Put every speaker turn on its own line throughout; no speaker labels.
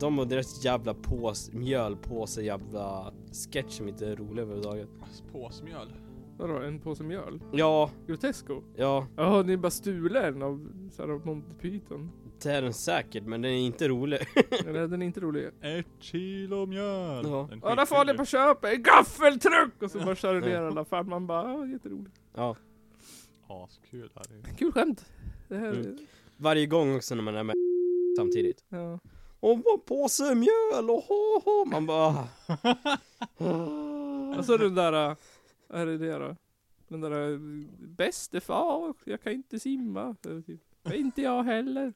de och deras jävla pås, mjölpåse jävla sketch som inte är rolig överhuvudtaget.
Påsmjöl.
Vadå, en påse mjöl?
Ja,
Grotesco?
ja,
Jaha, ni är bara stulen av så här, av Monty Python?
det är den säkert men den är inte rolig.
Eller den är inte rolig.
Ett kilo mjöl.
Ja.
Den
Alla
skiter
får
du.
det på köpet, en gaffeltruck! Och så bara kör du ner alla fan. Man bara, ja jätteroligt.
Ja,
Askul här. är-
Kul skämt. Det här,
Mm. varje gång också när man är med samtidigt.
ja.
Och vad påse mjöl och ho, ho. Man bara... "Ah."
Och så den där, äh, vad är det det då? Den där äh, bäste far, jag kan inte simma. Äh, typ. Inte jag heller.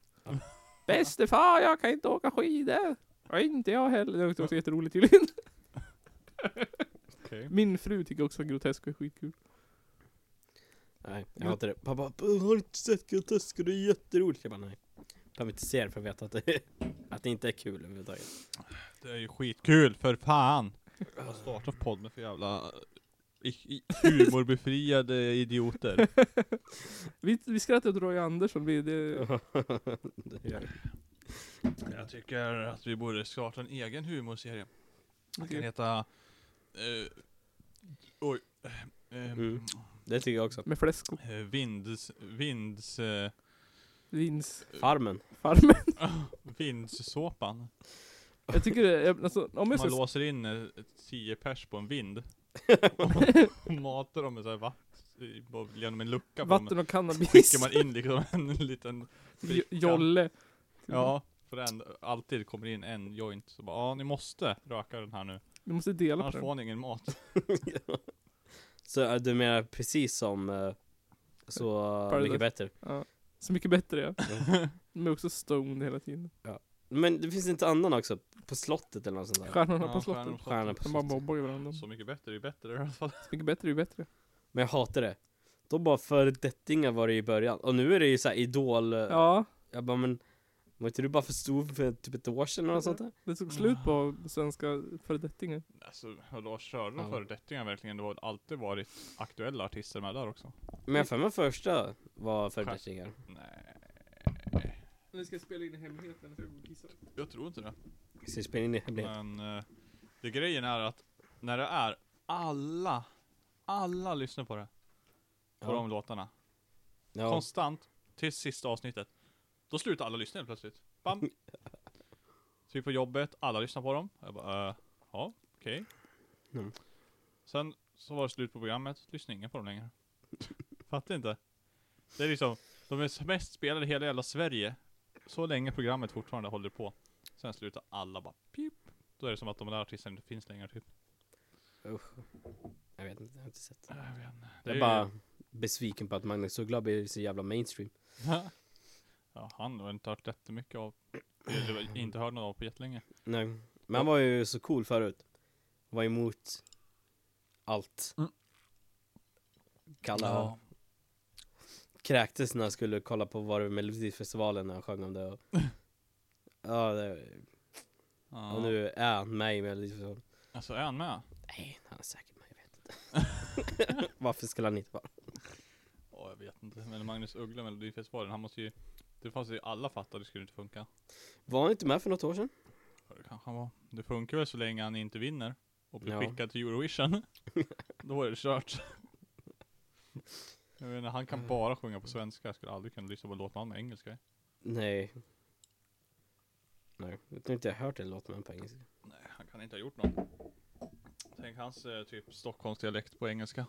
Bäste far, jag kan inte åka skidor. Ja, inte jag heller. Det var också jätteroligt tydligen.
Okej.
Min fru tycker också att grotesk är skitkul.
Nej, jag hatar det. Pappa, har du inte sett groteska? Det är jätteroligt. Jag bara nej. Behöver inte se det för att veta att det, att det inte är kul överhuvudtaget.
Det är ju skitkul för fan. Vad startar podd med för jävla i- i- humorbefriade idioter.
Vi, vi skrattar åt Roy Andersson. Vi, det,
Det gör det.
Jag tycker att vi borde starta en egen humorserie. Den kan
Okej.
heta... eh, oj. eh,
Mm. det tycker jag också.
med fläsk och
eh, vinds... Vinds... eh,
vinsfarmen.
Farmen.
vindssåpan.
Jag tycker det, är- alltså, om
Man
jag ska,
låser in eh, tio pers på en vind. Och matar dem med såhär vatten. Genom en lucka på dem.
vatten och cannabis.
Skickar man in liksom en liten...
Jo- Jolle.
Ja. För det ändå- alltid kommer in en joint. Så bara, ja ni måste röka den här nu.
Vi måste dela
Annars
på den.
får ni ingen mat.
Så äh, du menar precis som eh, Så eh,
Paradise.
mycket bättre.
Så mycket bättre ja. De är också stoned hela tiden.
Men det finns inte annan också? På slottet eller något sånt där?
Stjärnorna
Ja,
på
Stjärnorna
slottet.
på
Stjärnorna på
De bara
slottet.
mobbar ju varandra.
Så mycket bättre är ju bättre i alla fall.
Så mycket bättre är ju bättre.
Men jag hatar det. De bara föredettingar var det i början. Och nu är det ju såhär idol... Ja.
Ja,
Jag bara men... Var inte du bara för stor för typ ett år sedan eller något sånt där?
det tog slut på
Ah.
svenska föredettingar.
Alltså vadå, körde
Ja.
de föredettingar verkligen? Det har alltid varit aktuella artister med där också.
Men jag har för mig första var föredettingar.
Nej,
Nu ska jag spela in hemligheten för att kissa.
jag tror inte det.
Så vi spelar in i hemlighet.
Men eh, det grejen är att när det är alla, alla lyssnar på det. På
Ja.
de låtarna.
Ja.
Konstant, till sista avsnittet. Då slutar alla lyssna helt plötsligt. Bam! Så vi på jobbet, alla lyssnar på dem. Jag bara, eh, ja, okej.
Mm.
Sen så var det slut på programmet, lyssnade ingen på dem längre. Fattar inte. Det är liksom, de är mest spelade i hela jävla Sverige. Så länge programmet fortfarande håller på. Sen slutar alla bara, pip. Då är det som att de där artisterna inte finns längre typ.
Jag vet inte, jag har inte sett.
Jag vet inte. Det
Jag
är
är bara besviken på att Magnus Uggla blir så jävla mainstream.
Ja, han har inte hört jättemycket av. Eller inte hört något av på jättelänge.
Nej. Men han var ju så cool förut. Han var emot allt.
Mm.
Kalla kräktes när han skulle kolla på var det Melodifestivalen när han sjöng om det. Och, ja, det,
Ja.
och nu är han med i Melodifestivalen.
Alltså är han med?
Nej, han är säkert med, jag vet inte. Varför skulle han inte vara?
Ja, jag vet inte. Men Magnus Uggla Melodifestivalen, han måste ju... Det fanns ju alla fattade det skulle inte funka.
Var han inte med för något år sedan?
Ja, Det kanske han var. Det funkar väl så länge han inte vinner. Och blir
Ja.
skickad till Eurovision. Då är det kört. Jag menar, han kan bara sjunga på svenska. Jag skulle aldrig kunna lyssna på låtar med engelska.
Nej. Nej, jag tror inte jag har hört en låt med honom på engelska.
Nej, han kan inte ha gjort något. Tänk hans eh, typ Stockholmsdialekt på engelska.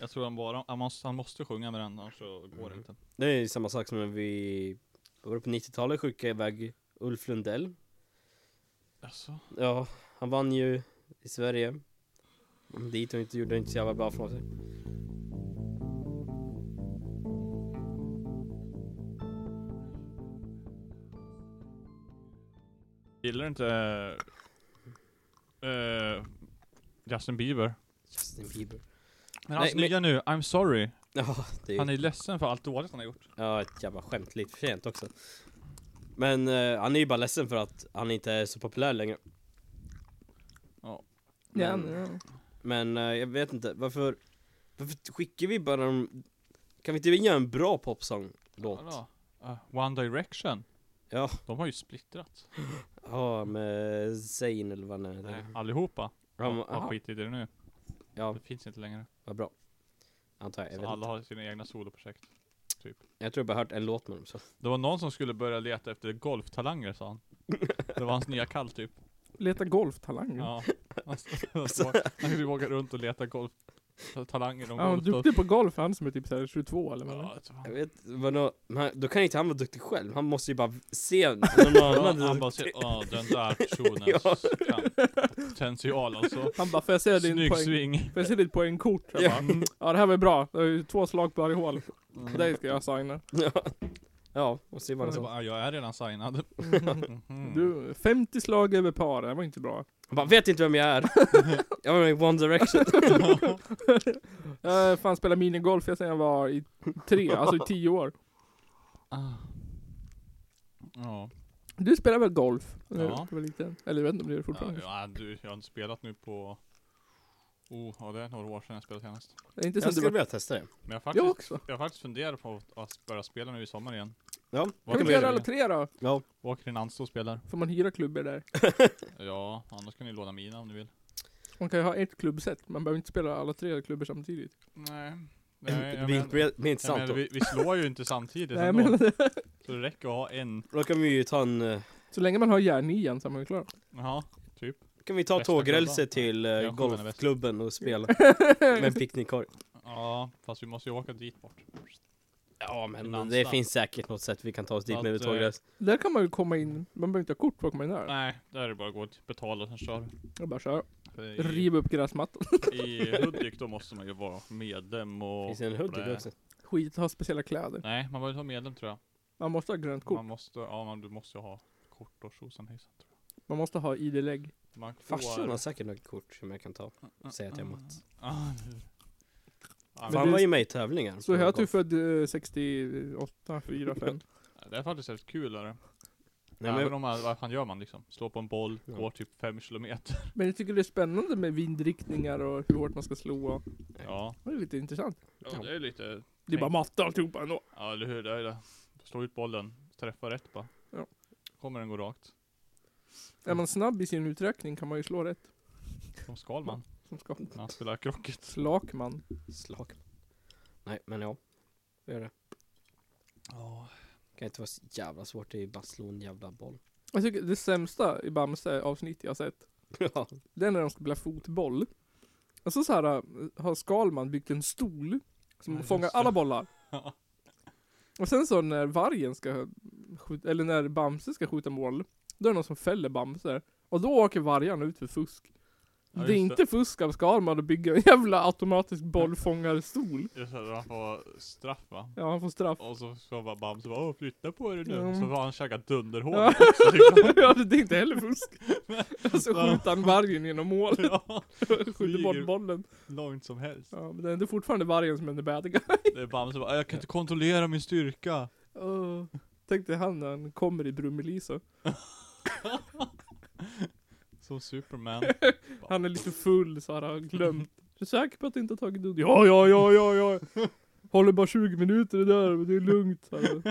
Jag tror han bara, han måste, han måste sjunga med den annars så går det
Mhm.
inte.
Det är ju samma sak som när vi, vad var det på 90-talet, skickade iväg Ulf Lundell.
Alltså,
Ja, han vann ju i Sverige. Kom Dit och inte gjorde inte så jävla bra från sig.
gillar inte eh, eh, Justin Bieber?
Justin Bieber.
Men
Nej,
hans
men-
nya nu, I'm sorry.
Ja, det är ju
Han är ledsen för allt dåligt han har gjort.
ja, ett jävla skämt lite för sent också. Men eh, han är ju bara ledsen för att han inte är så populär längre.
Ja,
Mm.
Men-
ja.
Men eh, jag vet inte, varför, varför skickar vi bara de, kan vi inte göra en bra popsång-låt?
Vadå? Eh, One Ah, Direction.
Ja.
De har ju splittrat.
Ja, med Zayn eller vad han
Nej,
heter.
allihopa
Ja, men,
har, har
aha.
skitit i det nu.
ja,
Det finns inte längre.
vad bra. Antar jag. jag.
Så
vet
alla
inte.
har sina egna soloprojekt.
Jag tror jag bara hört en låt med dem så.
Det var någon som skulle börja leta efter golftalanger sa han. Det var hans nya kall typ.
Leta golftalanger.
Mm.
Ja,
Ja. Han
Alltså-
skulle åka runt och leta golftalanger. om
han var
golf då.
duktig på golf han som är typ så här 22 eller vad han är.
Ja, jag tror
Jag
han-
vet, vad nå- men han- då kan inte han vara duktig själv. Han måste ju bara se någon annan.
Ja, han bara ser, ja den där
Ja.
personens ja. potential alltså.
Han bara, får jag se din
Snygg
poäng?
sving.
Får jag se ditt poängkort? Jag
Ja.
bara, mm. ja det här var ju bra. Det var ju två slag på varje hål.
Det
Dig ska jag signa.
ja. ja, och se vad han
är
sa.
bara, jag är redan signad. Mhm.
Du, 50 slag över par, det här var inte bra.
Han bara, vet inte vem jag är. jag var med i One Direction.
Jag Eh, fan spelade minigolf jag sen jag var i tre, alltså i tio år.
Ah. Ja.
Du spelar väl golf? När
Ja.
Du var liten? Eller jag vet inte om du gör det
Ja,
fortfarande.
ja, du, jag har inte spelat nu på... Oh, ja, det är några år sedan jag spelade senast.
Det är inte som
Jag
du
skulle
var...
vilja testa det.
Men jag har
Jag
faktiskt,
också.
jag har faktiskt funderat på att börja spela nu i sommar igen.
Ja,
Kan vi
vi
inte göra
göra.
alla tre då?
ja.
Åker till Nanstad och spelar.
Får man hyra klubbor där?
Ja, annars kan ni låna mina om ni vill.
Man kan ju ha ett klubbset, man behöver inte spela alla tre klubbor samtidigt.
Nej.
Det
Nej,
blir,
jag men,
blir, blir
jag
intressant
menar,
då.
vi, vi slår ju inte samtidigt
Nej, jag
ändå.
menar det.
Så det räcker att ha en.
Då kan vi ju ta en... eh,
Så länge man har järnian så är man ju klar.
Jaha, typ.
Kan vi ta
Bästa
tågrälset
klubban.
till eh,
Ja, klubban är bäst.
golfklubben och spela med en picknickkorg?
Ja, fast vi måste ju åka dit bort.
Ja men
Landstad.
Mm, det finns säkert något sätt vi kan ta oss dit
Att,
med
eh,
tågräls.
Där kan man ju komma in, man behöver inte ha kort för att komma in där.
Nej, där är det bara att gå till betala och sen kör.
Jag bara kör.
I,
Riv upp gräsmattan.
I Hudik då måste man ju vara medlem och...
Finns det en
blä.
Hudik också?
Skit, ha speciella kläder.
Nej, man behöver inte vara medlem tror jag.
Man måste ha grönt kort.
Man måste, ja man, du måste ju ha kort och tjosan hejsan tror jag.
Man måste ha ID-lägg.
Man får...
Farsan har säkert något kort som jag kan ta. säger att jag är emot.
Ah, nu. Ja,
För
Men
han
du-
var ju med i tävlingar.
Så
på
jag är typ
golf.
född eh, 68, 4, 5.
men Det är faktiskt rätt kul är det.
Nej,
Även
men,
om man, vad fan gör man liksom? Slår på en boll,
Ja.
går typ fem kilometer.
Men jag tycker det är spännande med vindriktningar och hur hårt man ska slå. och-
Ja.
Det är lite intressant.
ja, det är lite...
Det är bara matte alltihopa ändå.
Ja eller hur, det är det. Slå ut bollen, träffa rätt bara.
Ja.
Kommer den gå rakt.
Är man snabb i sin uträkning kan man ju slå rätt.
Som Skalman,
Som ska.
när han spelar krocket.
Slakman.
slag. Nej men ja. Vi gör det.
Ja.
Kan inte vara så jävla svårt. Det är ju bara att slå en jävla boll.
Jag tycker det sämsta i Bamse avsnitt jag har sett
ja.
Det är när de ska spela fotboll. Och så, så här äh, har Skalman byggt en stol som
Ja, just
fångar
det.
alla bollar.
Ja.
Och sen så när vargen ska skjuta, eller när Bamse ska skjuta mål, då är det någon som fäller Bamse. Och då åker vargarna ut för fusk.
Ja,
det är
just
inte fusk av Skalman att bygga en jävla automatisk bollfångarstol.
Just det, han får straff va?
Ja, han får straff.
Och så ska bara Bamse bara "Åh, flytta på dig nu.
Ja.
Så får han käka dunderhål
Ja.
också liksom.
ja, det är inte heller fusk. Och så skjuter han vargen genom mål.
Ja,
Skjuter bort
flyger.
bollen.
långt som helst.
Ja, men det är ändå fortfarande vargen som är the bad guy.
Det är Bamse bara, jag kan inte kontrollera min styrka.
Oh. Tänk dig han när han kommer i Brummelisa.
Som Superman.
Han är lite full så han har glömt. Är du säker på att du inte har tagit dutt? Ja, ja, ja, ja, ja. Håller bara 20 minuter det där, men det är lugnt. Så, här.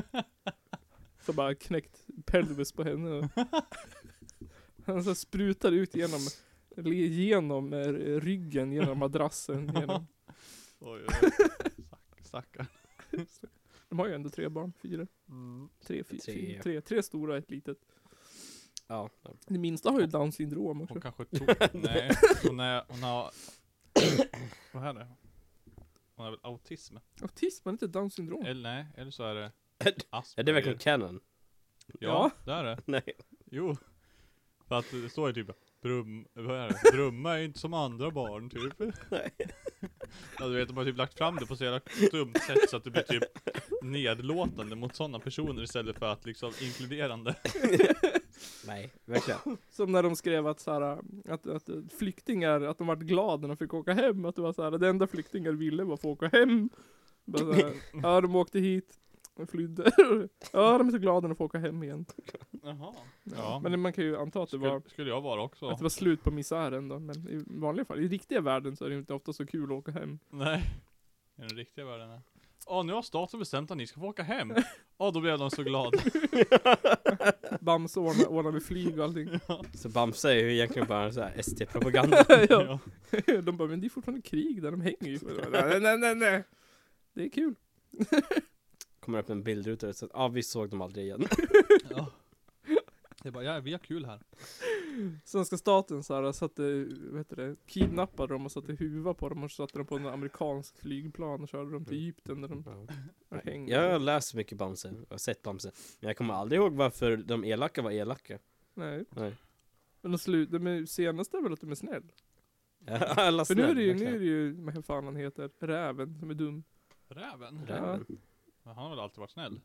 så bara knäckt pelvis på henne. Han så här sprutar ut genom, eller genom eh, ryggen, genom madrassen. Genom.
Oj, oj, oj. Stack- Stackar.
De har ju ändå tre barn, fyra.
Mm.
Tre, fyra,
Tre.
tre. tre, tre stora och ett litet.
ja.
Det minsta har ju down syndrom också.
Hon kanske tog, nej, hon är, hon har, vad är det? Hon har väl autism?
Autism, är inte down syndrom?
Eller nej, eller så är det
Är
Asperger.
det verkligen canon?
Ja, det är det.
Nej.
Jo. För att det står ju typ Brum, vad är det? Brumma är ju inte som andra barn typ.
Nej.
Ja, du vet, de har typ lagt fram det på så jävla dumt sätt så att det blir typ nedlåtande mot sådana personer istället för att liksom inkluderande.
Nej, verkligen.
Som när de skrev att, så här, att, att flyktingar, att de vart glada när de fick åka hem. Att det var så här, det enda flyktingar ville var att få åka hem. Bara så här, ja, de åkte hit, de flydde. Ja, de är så glada när de får åka hem igen.
Jaha.
Ja,
Ja.
Men man kan ju anta att det var,
Skulle, skulle jag vara också.
att det var slut på misären då. Men i vanliga fall, i riktiga världen så är det ju inte ofta så kul att åka hem.
Nej. I den riktiga världen. Ja, nu har staten bestämt att ni ska få åka hem. Ja, då blev de så glada.
Bamse ordnar, ordnar med flyg och allting.
Så Bamse är ju egentligen bara så här ST-propaganda.
ja. De bara, men det är fortfarande krig där de hänger ju. Nej, nej, nej, nej. Det är kul.
Kommer upp en bildruta och så att ah, vi såg dem aldrig igen.
Ja. Det är bara, ja, vi har kul här.
Svenska staten så här, satte, vad heter det, kidnappade dem och satte huva på dem och satte dem på en amerikansk flygplan och körde dem till Egypten där de
Ja.
hängde.
Jag har läst mycket Bamse, jag har sett Bamse. Men jag kommer aldrig ihåg varför de elaka var elaka.
Nej.
Nej.
Men de slutar med, senaste är väl att de är snäll.
Alla
För nu är det ju, nu
verkligen.
är det ju, vad fan han heter, räven som är dum.
Räven?
Räven.
Men han har väl alltid varit snäll?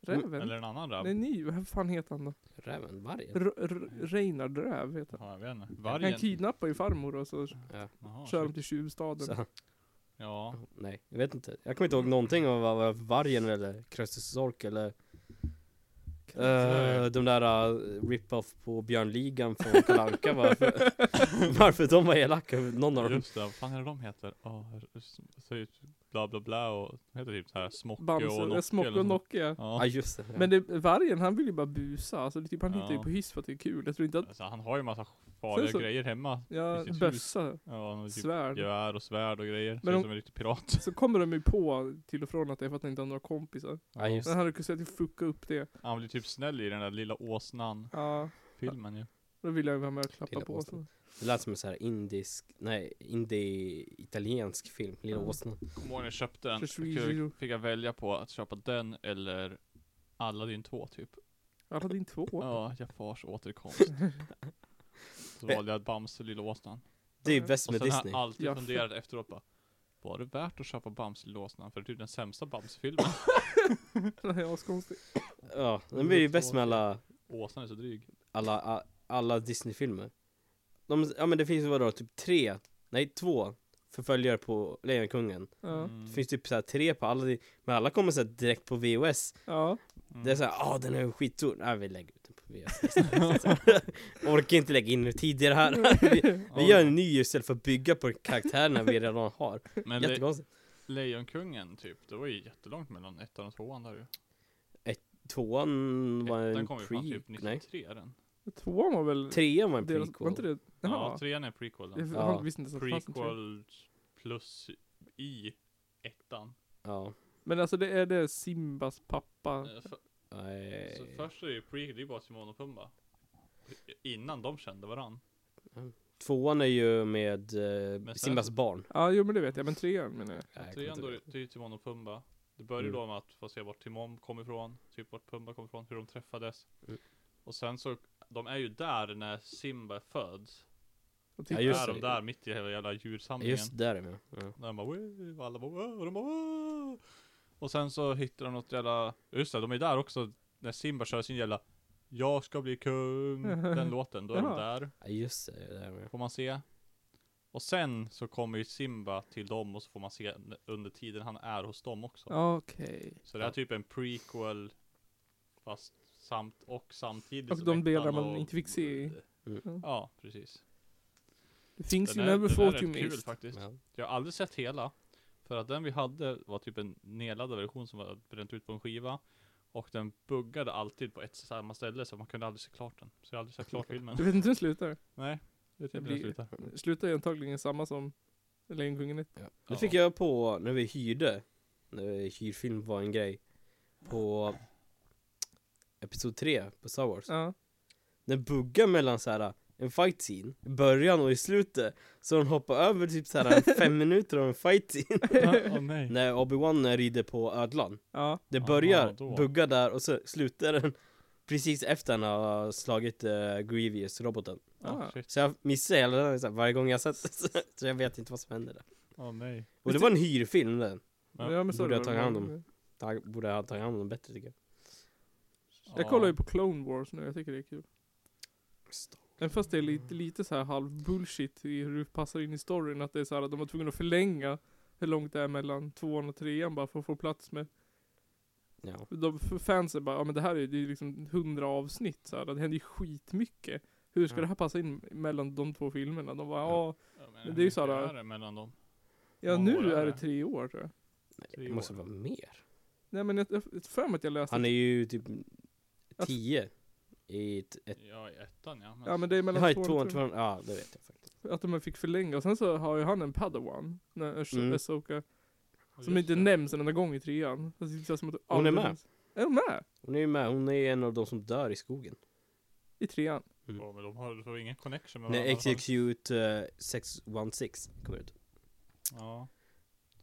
Räven?
Eller en annan räv?
Nej, ny, vad fan heter han då?
Räven? Vargen?
R- R- Reinhard Räv heter han.
Ja, jag vet inte.
Han
Vargen?
kidnappar ju farmor och så
Ja.
Jaha,
kör de
shit.
till tjuvstaden.
Så,
Ja.
nej, jag vet inte. Jag kommer inte ihåg någonting av vad- vad vargen eller Krösusork eller eh, de där eh, rip-off på Björnligan från Kalle Anka varför, varför de var elaka, någon av dem.
Just det, vad fan är det de heter? Ja, s- så ut bla bla bla och heter typ så här Smocke
Bamse,
och
eh,
Nocke
Smocke
eller
och
nåt.
Nocke. ja.
Ja
Ja.
ah, just det.
Men det, vargen han vill ju bara busa, alltså det, är typ, han
Ja.
hittar ju på hiss för att det är kul. Jag tror inte att,
Alltså, han har ju massa farliga
Sen så-
grejer hemma.
ja,
i sitt
bössa,
Ja, någon typ
svärd.
gevär och svärd och grejer. Ser
Men
ut
de-
som en riktig pirat.
Så kommer de ju på till och från att det är för att han inte har några kompisar.
Ja, just
Men han hade kunnat säga att jag fuckade upp det.
Han blir typ snäll i den där lilla åsnan-filmen
Ja,
ju.
då vill jag ju vara med och klappa
Lilla
på.
Åsnan.
Så.
Det lät som en sån här indisk, nej, indie-italiensk film, Lilla
Mm.
Åsnan.
Kommer ihåg när jag köpte den?
För Swedish Euro.
Fick- Fick jag välja på att köpa den eller Aladdin 2 typ.
Alla din två.
Ja, Jafars återkomst. Så valde jag Bamse och Lilla Åsnan.
Det är ju bäst
Och
med
sen har jag
Disney.
alltid
Ja.
funderat efteråt bara, var det värt att köpa Bamse och Lilla Åsnan? För det är typ den sämsta Bamse-filmen.
Den är askonstig.
Ja, den blir ju bäst med alla,
Åsnan är så dryg.
alla, a- alla Disney-filmer. De, ja men det finns ju vadå, typ tre, nej två förföljare på Lejonkungen.
Ja.
Mm.
Det finns typ såhär tre på alla, men alla kommer såhär direkt på VOS.
ja.
Mm.
Det är såhär, ah den är ju skitstor, nej vi lägger ut den på VOS. Orkar inte lägga in tid i det här. Vi, vi gör en ny istället för att bygga på karaktärerna vi redan har.
Men Le-
Jättekonstigt.
Lejonkungen typ, det var ju jättelångt mellan ettan och tvåan där ju.
Tvåan var
Ettan
en
kom ju fan
pre...
typ
Nej.
93 den.
Tvåan var väl...
Trean var en
deras- Var inte
prequel.
Ja,
det? Jaha.
trean är prequelen.
Jag
Ja.
har- visste inte så att det fanns en trea.
Prequel plus i ettan.
Ja.
Men alltså det är det Simbas pappa.
Eh, för-
Nej.
Så först är det ju prequel, det är ju bara Simon och Pumba. Innan de kände varann.
Tvåan är ju med eh,
sen-
Simbas barn.
Ja, jo men det vet jag. Men trean menar jag.
Nej, jag kommer
Trean då,
inte
är det
ihåg.
det är ju Timon och Pumba. Det börjar ju
Mm.
då med att få se vart Timon kom ifrån, typ vart Pumba kom ifrån, hur de träffades.
Mm.
Och sen så, de är ju där när Simba föds.
Och
Ja,
typ-
just
är de
det.
där mitt i hela jävla djursamlingen.
Just där är med. Ja.
Och de bara "Wee", och alla bara "Wee", och de bara "Wee". Och sen så hittar de något jävla, just det, de är där också när Simba kör sin jävla Jag ska bli kung, den låten, då är
Ja.
de där,
ja, just det. Där är med.
får man se. Och sen så kommer ju Simba till dem och så får man se n- under tiden han är hos dem också.
Okej.
Så det här är typ en prequel, fast samt och samtidigt
Och
som
Alltså, de
ettan
delar man
och-
inte fick se. Mm.
Ja, precis.
Det finns ju
är-
never
den
fought
rätt
you
kul
missed.
faktiskt.
Ja.
Jag har aldrig sett hela. För att den vi hade var typ en nedladdad version som var bränt ut på en skiva. Och den buggade alltid på ett samma ställe så man kunde aldrig se klart den. Så jag har aldrig sett klart filmen.
Du vet inte hur den slutar?
Nej, det är inte
Det
hur den
blir-
slutar.
Mm.
Den Slutar ju antagligen samma som Lejonkungen 1.
Ja. Det
Ja.
fick jag på när vi hyrde. När vi hyrfilm var en grej. På Episod 3 på Star Wars.
Ja.
Den buggar mellan så här en fight scene i början och i slutet. Så den hoppar över typ så här fem minuter av en fight scene.
Åh nej.
när Obi-Wan rider på ödlan.
Ja.
Det
Aha,
börjar
då.
bugga där och så slutar den precis efter han har slagit eh, Grievous-roboten.
Åh
Ah.
shit.
Så jag missar hela den så här, varje gång jag sett så, så jag vet inte vad som händer där.
Åh nej.
Och det var en hyrfilm den.
Ja.
ja men så
Borde
är
jag
det
ta
väl.
hand om? Ta- Borde ha tagit hand om den bättre tycker jag.
Jag
Ja.
kollar ju på Clone Wars nu, jag tycker det är kul.
Star
Även fast det är
Mm.
lite, lite så här halv bullshit i hur det passar in i storyn. Att det är så här att de var tvungna att förlänga hur långt det är mellan tvåan och trean bara för att få plats med.
Ja.
De för fansen bara, ja men det här är ju det är ju liksom hundra avsnitt så här. Det händer ju skitmycket. Hur ska
Ja.
det här passa in mellan de två filmerna? De bara,
Ja.
ja,
Ja, men
det är
hur
ju
mycket
såhär-
är det mellan dem.
ja
Många år
nu
är
är det
det?
tre år tror jag.
Tre
Det måste
år.
vara mer.
Nej men jag jag- jag har för mig att jag läste...
Han är ju typ
Att-
10 i ett... ett
Ja, i ettan ja. Men
Ja men det är
ja, i
mellan två
tvåan,
och tre.
tvåan, ja det vet jag faktiskt.
Att de fick förlänga. Och sen så har ju han en padawan. När Ash-
Mm.
Ahsoka.
just
Som inte
det.
nämns en enda gång i trean. Alltså, det känns som att
Hon är
aldrig
med.
nämns. Är hon med?
Hon är ju med, hon är ju en av de som dör i skogen.
I trean?
Ja, men de har, de har ingen connection med varandra
När
i alla fall.
Execute eh, 616 kommer ut.
alltså. Ja.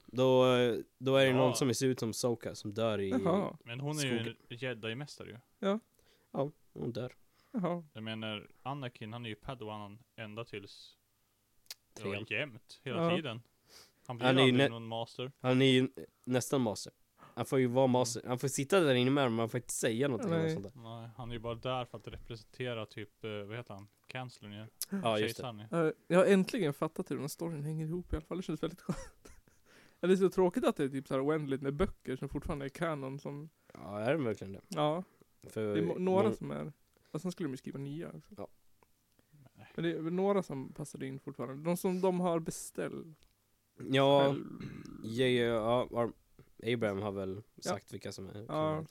Då, eh, då är det
Ja.
någon som ser ut som Soka som dör i...
Jaha.
Men hon är ju
Skogen.
en jedi-mästare ju.
Ja, hon dör.
Jaha.
Jag menar, Anakin han är ju padawanen ända tills... Ja,
Trean.
jämt. Hela
Ja.
tiden. Han blir
Han är ju
aldrig
nä-
någon master.
Han är ju nästan master. Han får ju vara master. Han får sitta där inne med dem, men han får inte säga någonting. eller
Nej.
Sånt där.
Nej, han är ju bara där för att representera typ, eh, vad heter han? Kanslern ju.
Ja, just det.
Kejsaren ju.
Eh, Jag har äntligen fattat hur den storyn hänger ihop i alla fall. Det känns väldigt skönt. Ja, Det är så tråkigt att det är typ så här oändligt med böcker som fortfarande är kanon som...
Ja, är den verkligen det?
Ja,
För
det är mo- några
Eh, många-
som är... Och sen skulle de ju skriva nya också.
Ja.
Men det är väl några som passade in fortfarande. De som de har beställt
Ja,
själv.
ja, ja, ja Ar- Abraham har väl sagt vilka som är. som
Ja.
är.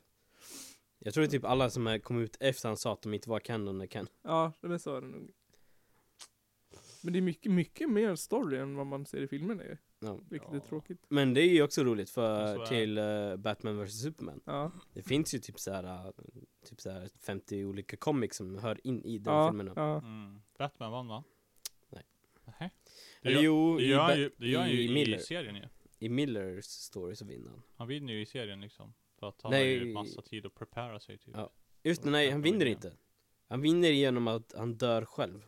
Jag tror det är typ alla som är- kom ut efter han sa att de inte var kanon är kan.
Ja, men så är det nog. Men det är mycket, mycket mer story än vad man ser i filmerna ju.
Ja.
Vilket är
Ja.
tråkigt.
Men det är ju också roligt
Så
för
är
till eh, Batman vs Superman.
Ja,
Det finns ju typ såhär, eh, typ såhär 50 olika comics som hör in i den
ja,
filmen.
ja.
Mm. Batman vann va?
Nej.
Nej. Det
Eller
gör,
jo,
det
i,
gör
Ba-
han ju, det gör han ju
i
i,
Miller.
serien ju.
i Millers story så vinner han.
Han vinner ju i serien liksom. För att han har
Nej.
ju massa tid att prepara sig typ.
Ja. Just det, nej han
Batman
vinner
vinner.
inte. Han vinner genom att han dör själv.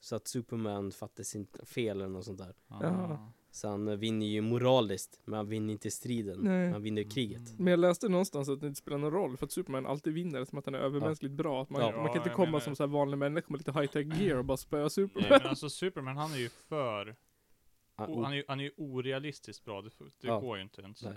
Så att Superman fattar sitt fel eller något sånt där.
Ah.
Jaha.
Så han eh, vinner ju moraliskt, men han vinner inte striden.
Nej.
Han vinner kriget.
Mm.
Men jag läste någonstans att det inte spelar någon roll för att Superman alltid vinner eftersom att han är övermänskligt bra. Att man,
Ja.
man
Ja,
kan inte
jag
komma
menar
som
det.
så här vanlig människa med lite high-tech gear och bara spöa Superman.
Nej men alltså Superman han är ju för,
Han,
o- han är ju, han är ju orealistiskt bra. Det, f- det
Ja.
går ju inte ens.
Nej.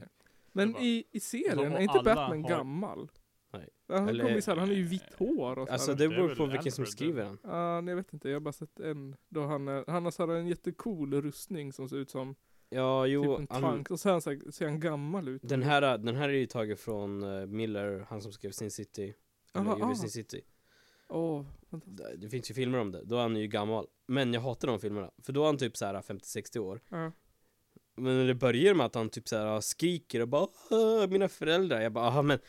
Men
Det var-
i, i serien,
De och
är inte
alla
Batman
har-
gammal?
Nej.
Han,
Eller-
Eller... kommer, så här, han är ju vitt hår och så
alltså
här.
det
det är
beror
väl
på vilken
Alfred,
som
det-
skriver den.
Ja, nej, jag vet inte, jag har bara sett en. Då han, är, han har så här en jättecool rustning som ser ut som
Ja, jo,
typ en
han,
tank. Och så, är han, så här, ser han gammal ut.
den, här, eh, den här är ju tagen från eh, Miller, han som skrev Sin City. Eller
Aha,
gjorde
ah.
Sin City.
Åh, fantastiskt.
Det, det finns ju filmer om det, då är han ju gammal. Men jag hatar de filmerna, för då är han typ så här 50-60 år.
Ja.
Men när det börjar med att han typ så här skriker och bara "Åh, mina föräldrar, jag bara "Aha, men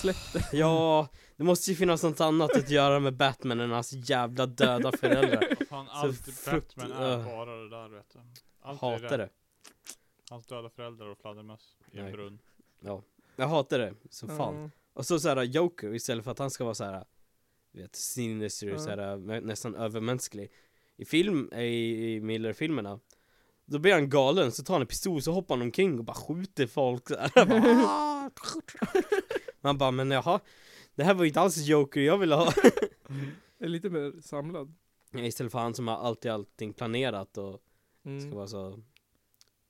Släpp det.
ja, det måste ju finnas något annat att göra med Batman än hans jävla döda föräldrar.
Och fan, allt
frukt-
Batman är
Ugh.
bara det där vet du. Allt är
Hatar det.
Hans döda föräldrar och fladdermöss i en
Nej.
brunn.
Jag hatar det som fan.
Ja.
Och så såhär Joker istället för att han ska vara såhär du vet, sinister,
Ja.
såhär, nä- nästan övermänsklig I film, i, i Miller-filmerna Då blir han galen, så tar han en pistol, så hoppar han omkring och bara skjuter folk såhär Jag bara, "Ah!" Man bara, men jaha Det här var ju inte alls Joker jag ville ha
Jag är lite mer samlad.
Istället för han som har alltid allting planerat och ska
Mm.
vara så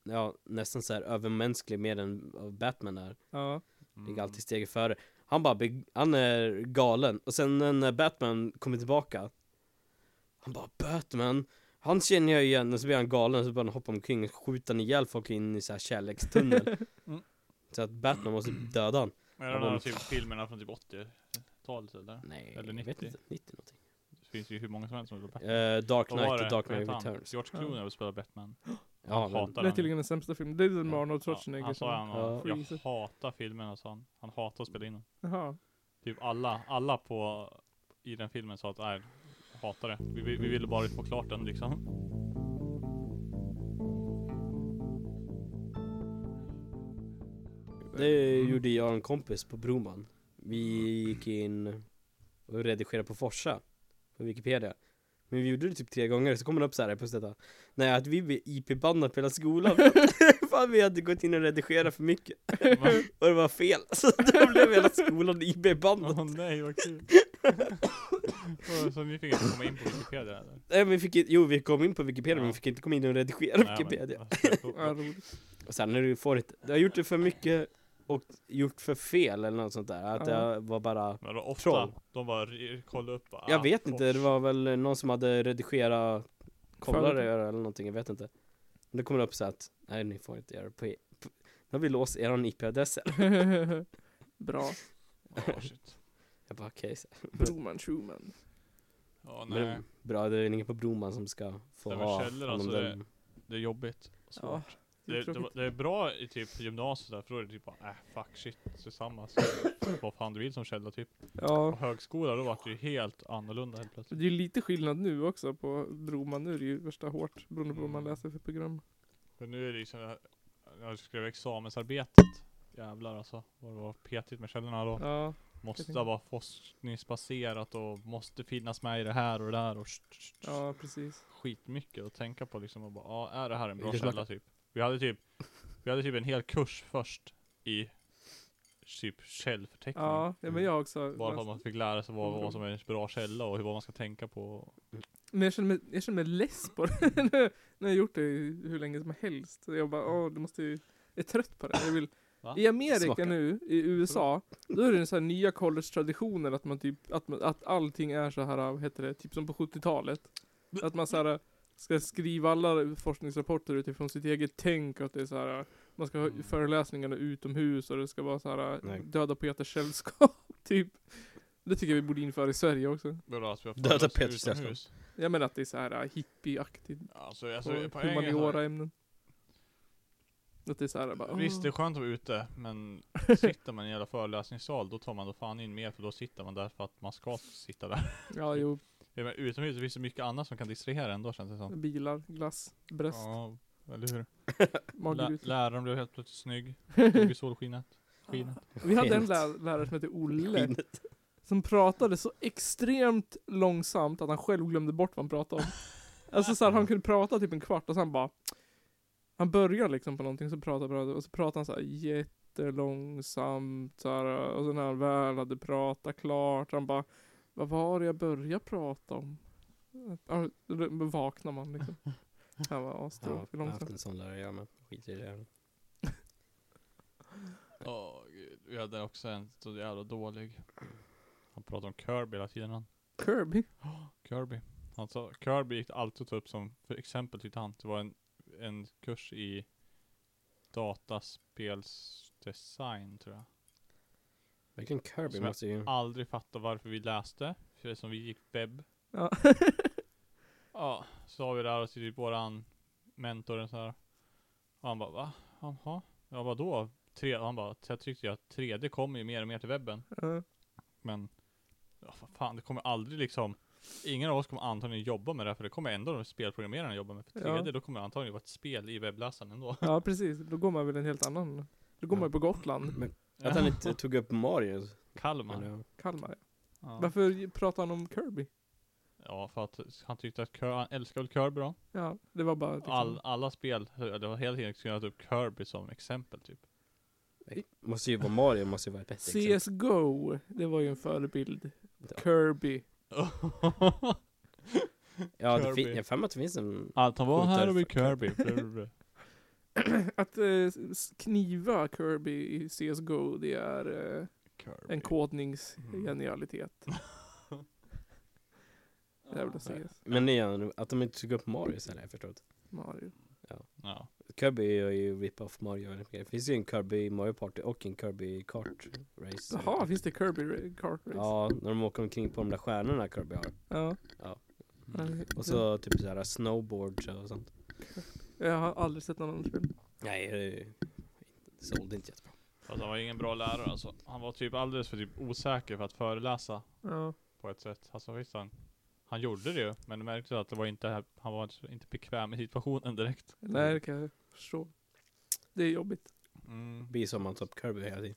Ja, nästan såhär övermänsklig mer än vad Batman är
Ja.
Mm.
Ligger alltid steget före. Han bara, blir- han är galen. Och sen när Batman kommer tillbaka. Han bara, Batman. Han känner jag igen och så blir han galen så börjar han hoppa omkring och skjuta ihjäl folk in i så här kärlekstunnel.
Mm.
Så att Batman måste döda han.
Är det de här typ filmerna från typ 80-talet eller?
Nej,
Eller
jag vet
90.
inte. 90 någonting.
Det finns ju hur många som helst som heter Batman.
Eh, Dark
Vad var
Knight
det?
och Dark
Vad
Knight
heter han?
Returns.
George Clooney vill spela Batman.
Ja, men,
hatar
Det är
han ju.
tydligen den sämsta filmen. Det är den med Arnold
Ja,
Schwarzenegger
han sa
som...
han, och
Ja.
jag hatar filmerna sa han. Han hatar att spela in dem.
Jaha.
Typ alla, alla på, i den filmen sa att nej, hatar det. Vi, vi, vi ville bara få klart den liksom.
det
Mm.
gjorde jag och en kompis på Broman. Vi gick in och redigerade på Forsa. På Wikipedia. Men vi gjorde det typ tre gånger, så kom det upp så här på detta. Nej, att vi blev IP-bannade på hela skolan. Fan, vi hade gått in och redigerat för mycket. Och det var fel. Så då blev hela skolan IP-bannad.
Åh nej vad kul. så, så ni fick inte komma in på Wikipedia eller?
Nej, men vi fick inte, jo, vi kom in på Wikipedia, men
Ja.
vi fick inte komma in och redigera
Nej, men-
Wikipedia.
Ja, roligt.
Och sen när du får inte, du har gjort det för mycket och gjort för fel eller något sånt där. Att
Ja.
det var bara
Men då ofta,
Troll.
de bara re- kollade upp bara,
Jag
ah,
vet inte,
fors.
det var väl någon som hade redigerat kollare eller någonting, jag vet inte Då kommer det upp så att, nej ni får inte göra det på, e- på nu har vi låst eran IP-adress här.
Bra.
Oh, shit.
Jag bara okej. så.
Broman Schumann.
Ja, nej.
Men Bra, det är ingen på Broman som ska få
Det var
ha
källor,
hand om
alltså,
den.
Det är jobbigt. och
Ja,
Svårt.
det är
det, det,
tråkigt.
det är bra i typ gymnasiet där, för då är det typ bara, äh, fuck shit, tillsammans. Vad fan du vill som källa typ. På
Ja.
högskola då vart det ju helt annorlunda helt plötsligt.
Det är ju lite skillnad nu också på Broman. Nu är det ju värsta hårt beroende på vad man läser för program.
Men nu är det liksom, när jag skrev examensarbetet, jävlar alltså. Vad det var petigt med källorna då.
Ja.
Måste
tänka.
vara forskningsbaserat och måste finnas med i det här och det där och sh- sh- sh-
Ja, precis.
skitmycket att tänka på liksom och bara, ja är det här en bra
Vilken
källa
smaka?
typ? Vi hade typ, vi hade typ en hel kurs först i typ källförteckning.
Ja, ja men jag också.
Bara för att
läst-
man fick lära sig vad, vad som är en bra källa och hur- vad man ska tänka på.
Men jag känner mig, jag känner mig less på det. nu, nu har jag gjort det i hur länge som helst. Så jag bara, åh, du måste ju... Jag är trött på det. Jag vill...
Va?
I Amerika
Smaka.
nu, i USA, då är det så här nya college-traditioner att man typ, att, man, att allting är så här, vad heter det, typ som på 70-talet. Att man så här ska skriva alla forskningsrapporter utifrån sitt eget tänk och att det är så här, man ska ha
Mm.
föreläsningarna utomhus och det ska vara så här,
Nej.
döda poeters sällskap, typ. Det tycker jag vi borde införa i Sverige också.
Bra att alltså, vi har
Döda
föreläst
Peter Stefan.
utomhus.
Jag menar att det är så här äh, hippieaktigt
Alltså,
på
alltså poängen är så här,
humaniora ämnen. Att det är så här bara,
Visst, det är
"Åh."
skönt att vara ute, men sitter man i en jävla föreläsningssal, då tar man då fan in mer, för då sitter man där för att man ska sitta där.
Ja, jo,
Jag menar, utomhus finns det mycket annat som kan distrahera ändå känns det som.
bilar, glass, bröst,
Ja, eller hur? Lä-
magrutor.
läraren blev helt plötsligt snygg, stod i solskinnet. Skinnet.
Vi hade en
Skinnet.
lä- lärare som hette Olle,
Skinnet.
som pratade så extremt långsamt att han själv glömde bort vad han pratade om. Alltså så här, han kunde prata typ en kvart och sen bara Han börjar liksom på någonting, så pratar han och så pratar han så här jättelångsamt så här, och sen när han väl hade pratat klart, han bara Vad var det jag började prata om? Ja, Då vaknar man liksom. Han var
Ja, jag
astråkig
har haft
långsamt.
en sån lärare jag med. Skiter i det.
Åh gud, vi hade också en så jävla dålig. Han pratade om Kirby hela tiden han.
Kirby?
Kirby. Han sa, Kirby gick alltid att ta upp som, för exempel tyckte han, det var en, en kurs i dataspelsdesign tror jag.
Verkligen Kirby
Som jag-
måste ju...
Aldrig fattat varför vi läste, för som vi gick webb.
Ja.
Ja, så har vi där och så typ våran mentor så här. Och han bara va? Jaha? Ja vadå? Tre, han bara, jag tyckte ju att 3D kommer ju mer och mer till webben.
Ja.
Men, ja, vad fan, det kommer aldrig liksom Ingen av oss kommer antagligen jobba med det här, för det kommer ändå de spelprogrammerarna jobba med. För
Ja.
3D, då kommer det antagligen vara ett spel i webbläsaren ändå.
ja precis, då går man väl en helt annan Då går
Ja.
man ju på Gotland,
Men att han inte tog upp Mario.
Kalmar.
Eller,
Kalmar.
Ja.
Varför pratar han om Kirby?
ja, för att han tyckte att Kirby, han älskade väl Kirby då.
Ja, det var bara liksom,
All, alla spel, det var hela tiden skulle jag ta upp Kirby som exempel typ.
eh, måste ju vara Mario, måste ju vara ett bättre exempel.
CSGO, det var ju en förebild.
Ja.
Kirby.
Ja, det
Kirby.
fin- jag har för mig att det finns en...
Allt han var
Skjuter
här och vid
för-
Kirby. Brr.
Att eh, s- kniva Kirby i CSGO, det är eh,
Kirby.
en kodningsgenialitet.
Mm.
Jävla CS.
Men igen, att de inte tog upp Mario istället, jag förstår inte.
Mario.
Ja.
Kirby är ju rip-off Mario. Det finns ju en Kirby Mario Party och en Kirby Kart Race.
Jaha, finns det Kirby Ra- Kart Race?
Ja, när de åker omkring på de där stjärnorna Kirby har.
ja.
Ja.
Mm.
Nej,
Och så
Mm.
typ såhär snowboards och sånt.
Jag har aldrig sett någon annan spel.
Nej, det sålde inte jättebra.
Fast han var ingen bra lärare alltså. Han var typ alldeles för typ osäker för att föreläsa
Ja.
på ett sätt. Alltså visst han, han gjorde det ju, men det märktes att det var inte, han var inte- inte bekväm i situationen direkt.
Nej, det kan jag förstå. Det är jobbigt.
Det blir som att man tar upp Kirby hela tiden.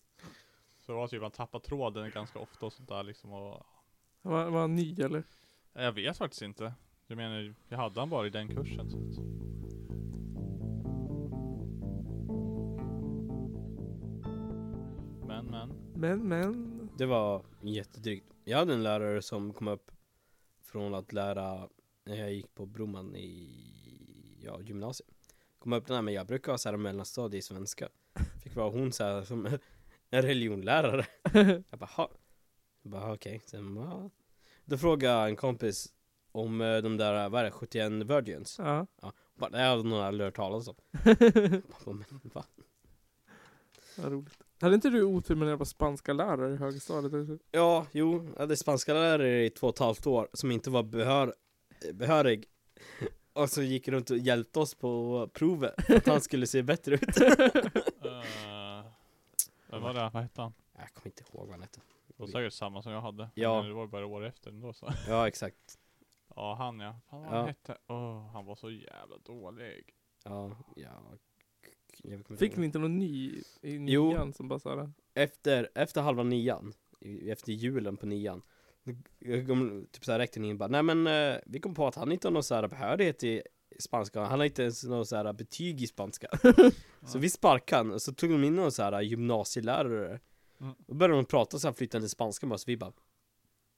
Så det var typ, han tappade tråden ganska ofta och sånt där liksom och,
Var, var han ny eller?
Nej, Eh, Jag vet faktiskt inte. Jag menar, jag hade han bara i den kursen så att. Men men.
Men, men.
Det var jättedrygt. Jag hade en lärare som kom upp från att lära när jag gick på Broman i ja, gymnasiet. Kom upp den här, men jag brukar ha så här mellanstadie i svenska. Fick vara hon så här som en religionlärare. Jag bara, ha. Jag bara, okej. Sen bara, Då frågade jag en kompis om eh, de där, vad är det, 71 virgins.
Ja.
Ja, hon Bara, det hade nog aldrig hört talas om. Bara, men va?
Vad roligt. Hade inte du otur med den jävla spanska lärare i högstadiet? eller?
Ja, jo, jag hade spanska lärare i två och ett halvt år som inte var behör, behörig. Och så gick runt och hjälpte oss på provet för att han skulle se bättre ut.
Eh, Vem var det? Vad hette han?
Jag kommer inte ihåg vad han hette.
Det var säkert samma som jag hade.
Ja.
Men det var bara år efter ändå så.
Ja, exakt.
Ja, han ja. Fan vad
Ja.
han hette. Åh, han var så jävla dålig.
Ja, ja. Jag kommer
Fick
ihåg.
ni inte någon ny i
Jo.
nian som bara såhär?
efter, efter halva nian, i- efter julen på nian, jag kom, typ såhär rektorn in och bara, nej men eh, vi kom på att han inte har någon såhär behörighet i spanska, han har inte ens någon såhär betyg i spanska. så vi sparkade han, och så tog de in någon såhär gymnasielärare.
Mm.
Och började de prata såhär flytande spanska bara, så vi bara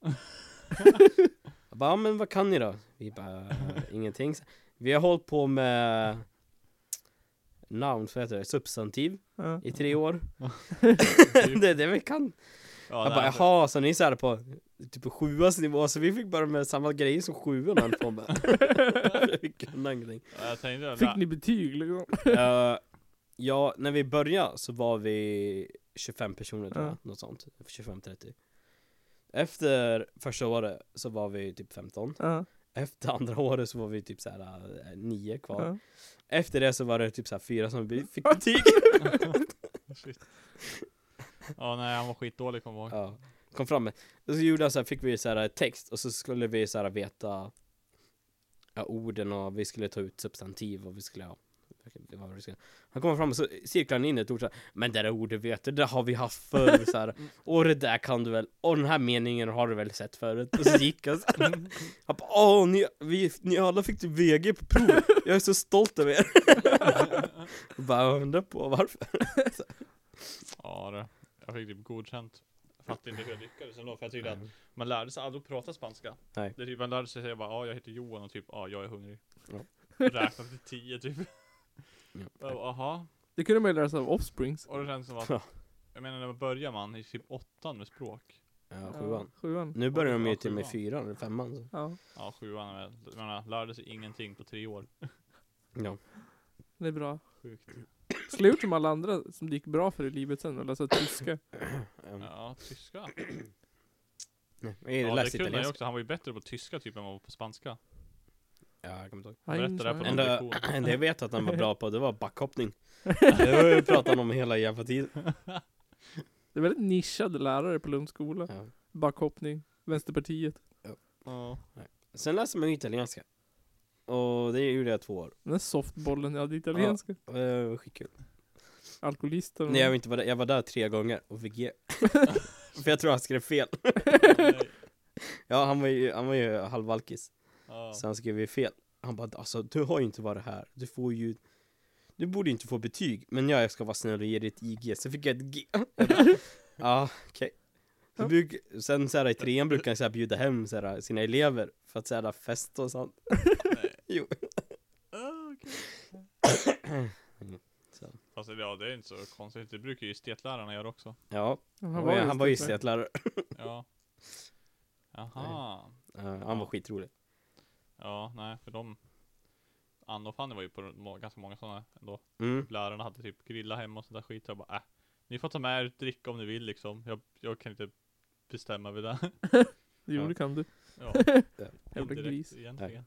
Jag bara, ja, men vad kan ni då? Vi bara, "Eh, ingenting. Vi har hållit på med namn, så heter det, substantiv
Ja.
i tre år.
Typ.
det är det vi kan.
Ja,
Jag
nej,
bara
alltså,
jaha, så ni är såhär på typ sjuans nivå, så vi fick bara med samma grejer som sjuan höll på med. Vi kunde ingenting.
Jag tänkte jag
Fick
lä-
ni betyg liksom?
Eh, ja, när vi började så var vi 25 personer tror jag,
Ja.
något sånt. 25-30. Efter första året så var vi typ 15.
Ja.
Efter andra året så var vi typ såhär 9 kvar.
Ja.
Efter det så var det typ såhär 4 som vi fick betyg.
Shit. Ja, nej han var skitdålig kommer jag ihåg.
Ja, kom fram med. Och så gjorde jag så här, fick vi så här eh, text och så skulle vi så här veta ja, orden och vi skulle ta ut substantiv och vi skulle ja, det var vad vi skulle. Han kommer fram och så cirklar han in ett ord så här, Men det där ordet vet du, det har vi haft förr så här. Och det där kan du väl, och den här meningen har du väl sett förut? Och så gick han så här. Han bara, åh ni, vi, ni alla fick typ VG på provet, jag är så stolt över er. Jag bara undrar på varför.
Ja, det. Jag fick typ godkänt. Jag Fattar inte hur jag lyckades ändå, för jag tyckte att man lärde sig aldrig att prata spanska.
Nej.
Det är typ, man lärde sig säga bara, ja jag heter Johan och typ, ja jag är hungrig.
Ja.
Räkna till tio typ.
Ja.
Jag bara, Jaha.
Det kunde man ju lära sig av Offsprings.
Och det känns som
Ja.
att, jag menar när man börjar man i typ åttan med språk.
Ja, sjuan. Mm.
Ja, sjuan.
Nu börjar de ju
Ja,
till och med
sjuan.
fyran eller femman. Så.
Ja,
Ja, sjuan. Jag menar, lärde sig ingenting på tre år.
Ja.
det är bra.
Sjukt.
Skulle gjort som alla andra som det gick bra för i livet sen och läsa tyska.
Ehm,
Ja, tyska.
Nej,
Ja,
jag läste
det kunde jag
italienska.
också. Han var ju bättre på tyska typ än vad han var på spanska.
Ja, jag kommer inte ihåg.
Berätta det här på
Einstein.
någon
Enda,
lektion.
enda jag vet att han var bra på, det var backhoppning. Det var ju pratat om hela jävla tiden.
Det är väldigt nischade lärare på Lunds skola.
Ja.
Backhoppning, Vänsterpartiet.
Ja.
Sen läste man ju italienska. Och det gjorde jag två år.
Den där softbollen jag hade i italienska.
Och Det var skitkul.
Mm.
Alkoholisten.
Nej, jag var, inte var där. jag var där tre gånger och fick ge. För jag tror han skrev fel.
Nej.
Ja, han var ju, han var ju halvalkis.
Ja.
Så han skrev ju fel. Han bara, alltså du har ju inte varit här. Du får ju... Du borde ju inte få betyg, men jag ska vara snäll och ge dig ett IG. Så fick jag ett G. Jag bara, Ja, okej. Så bruk, sen så här, i trean brukar han så här, bjuda hem så här, sina elever för att så här, festa och sånt. jo.
Ah, okej.
Mm. Så.
Fast ja, det är inte så konstigt. Det brukar ju estetlärarna göra också.
Ja,
Han
han var, han var ju
det.
estetlärare.
Ja. Jaha.
Uh, han var skitrolig.
Ja, nej, för de Anna och Fanny var ju på må- ganska många sådana ändå.
Mm.
Lärarna hade typ grilla hemma och sånt där skit. Jag bara, äh, ni får ta med er dricka om ni vill liksom. Jag, jag kan inte bestämma vid det.
Jo,
Ja.
det kan du.
Ja,
Jävla
indirekt
gris.
egentligen.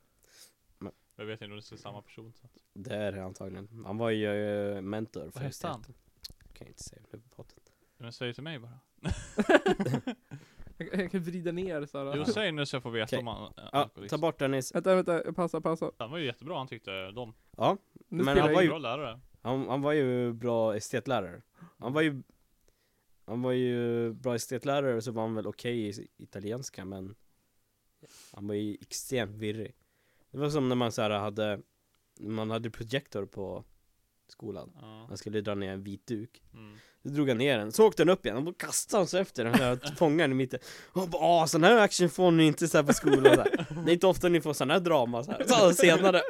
Men-
Jag vet inte om det är samma person. Så att,
Det är det antagligen. Han var ju eh, mentor för
vad hette han?
estet. Kan jag inte säga nu på podden.
Men säg till mig bara.
Jag, jag kan vrida ner såhär.
Jo, säg nu så jag får veta
Okej.
om han är
Ja,
alkoholist.
ta bort den Nils.
Vänta, vänta. Passa, passa.
Han var ju jättebra han tyckte de.
Ja,
Nu
Men
spelar
han
jag
var
in.
ju-
Bra lärare.
Han, han var ju bra estetlärare. Han var ju Han var ju bra estetlärare så var han väl okej i italienska men Han var ju extremt virrig. Det var som när man så här hade Man hade projektor på skolan.
Ja.
Man skulle dra ner en vit duk.
Mm.
Då drog han ner den, så åkte den upp igen, och då kastade han sig efter den där fångaren i mitten. Och han bara "Ah, sån här action får ni inte så här på skolan så här. Det är inte ofta ni får sån här drama så här. Så senare.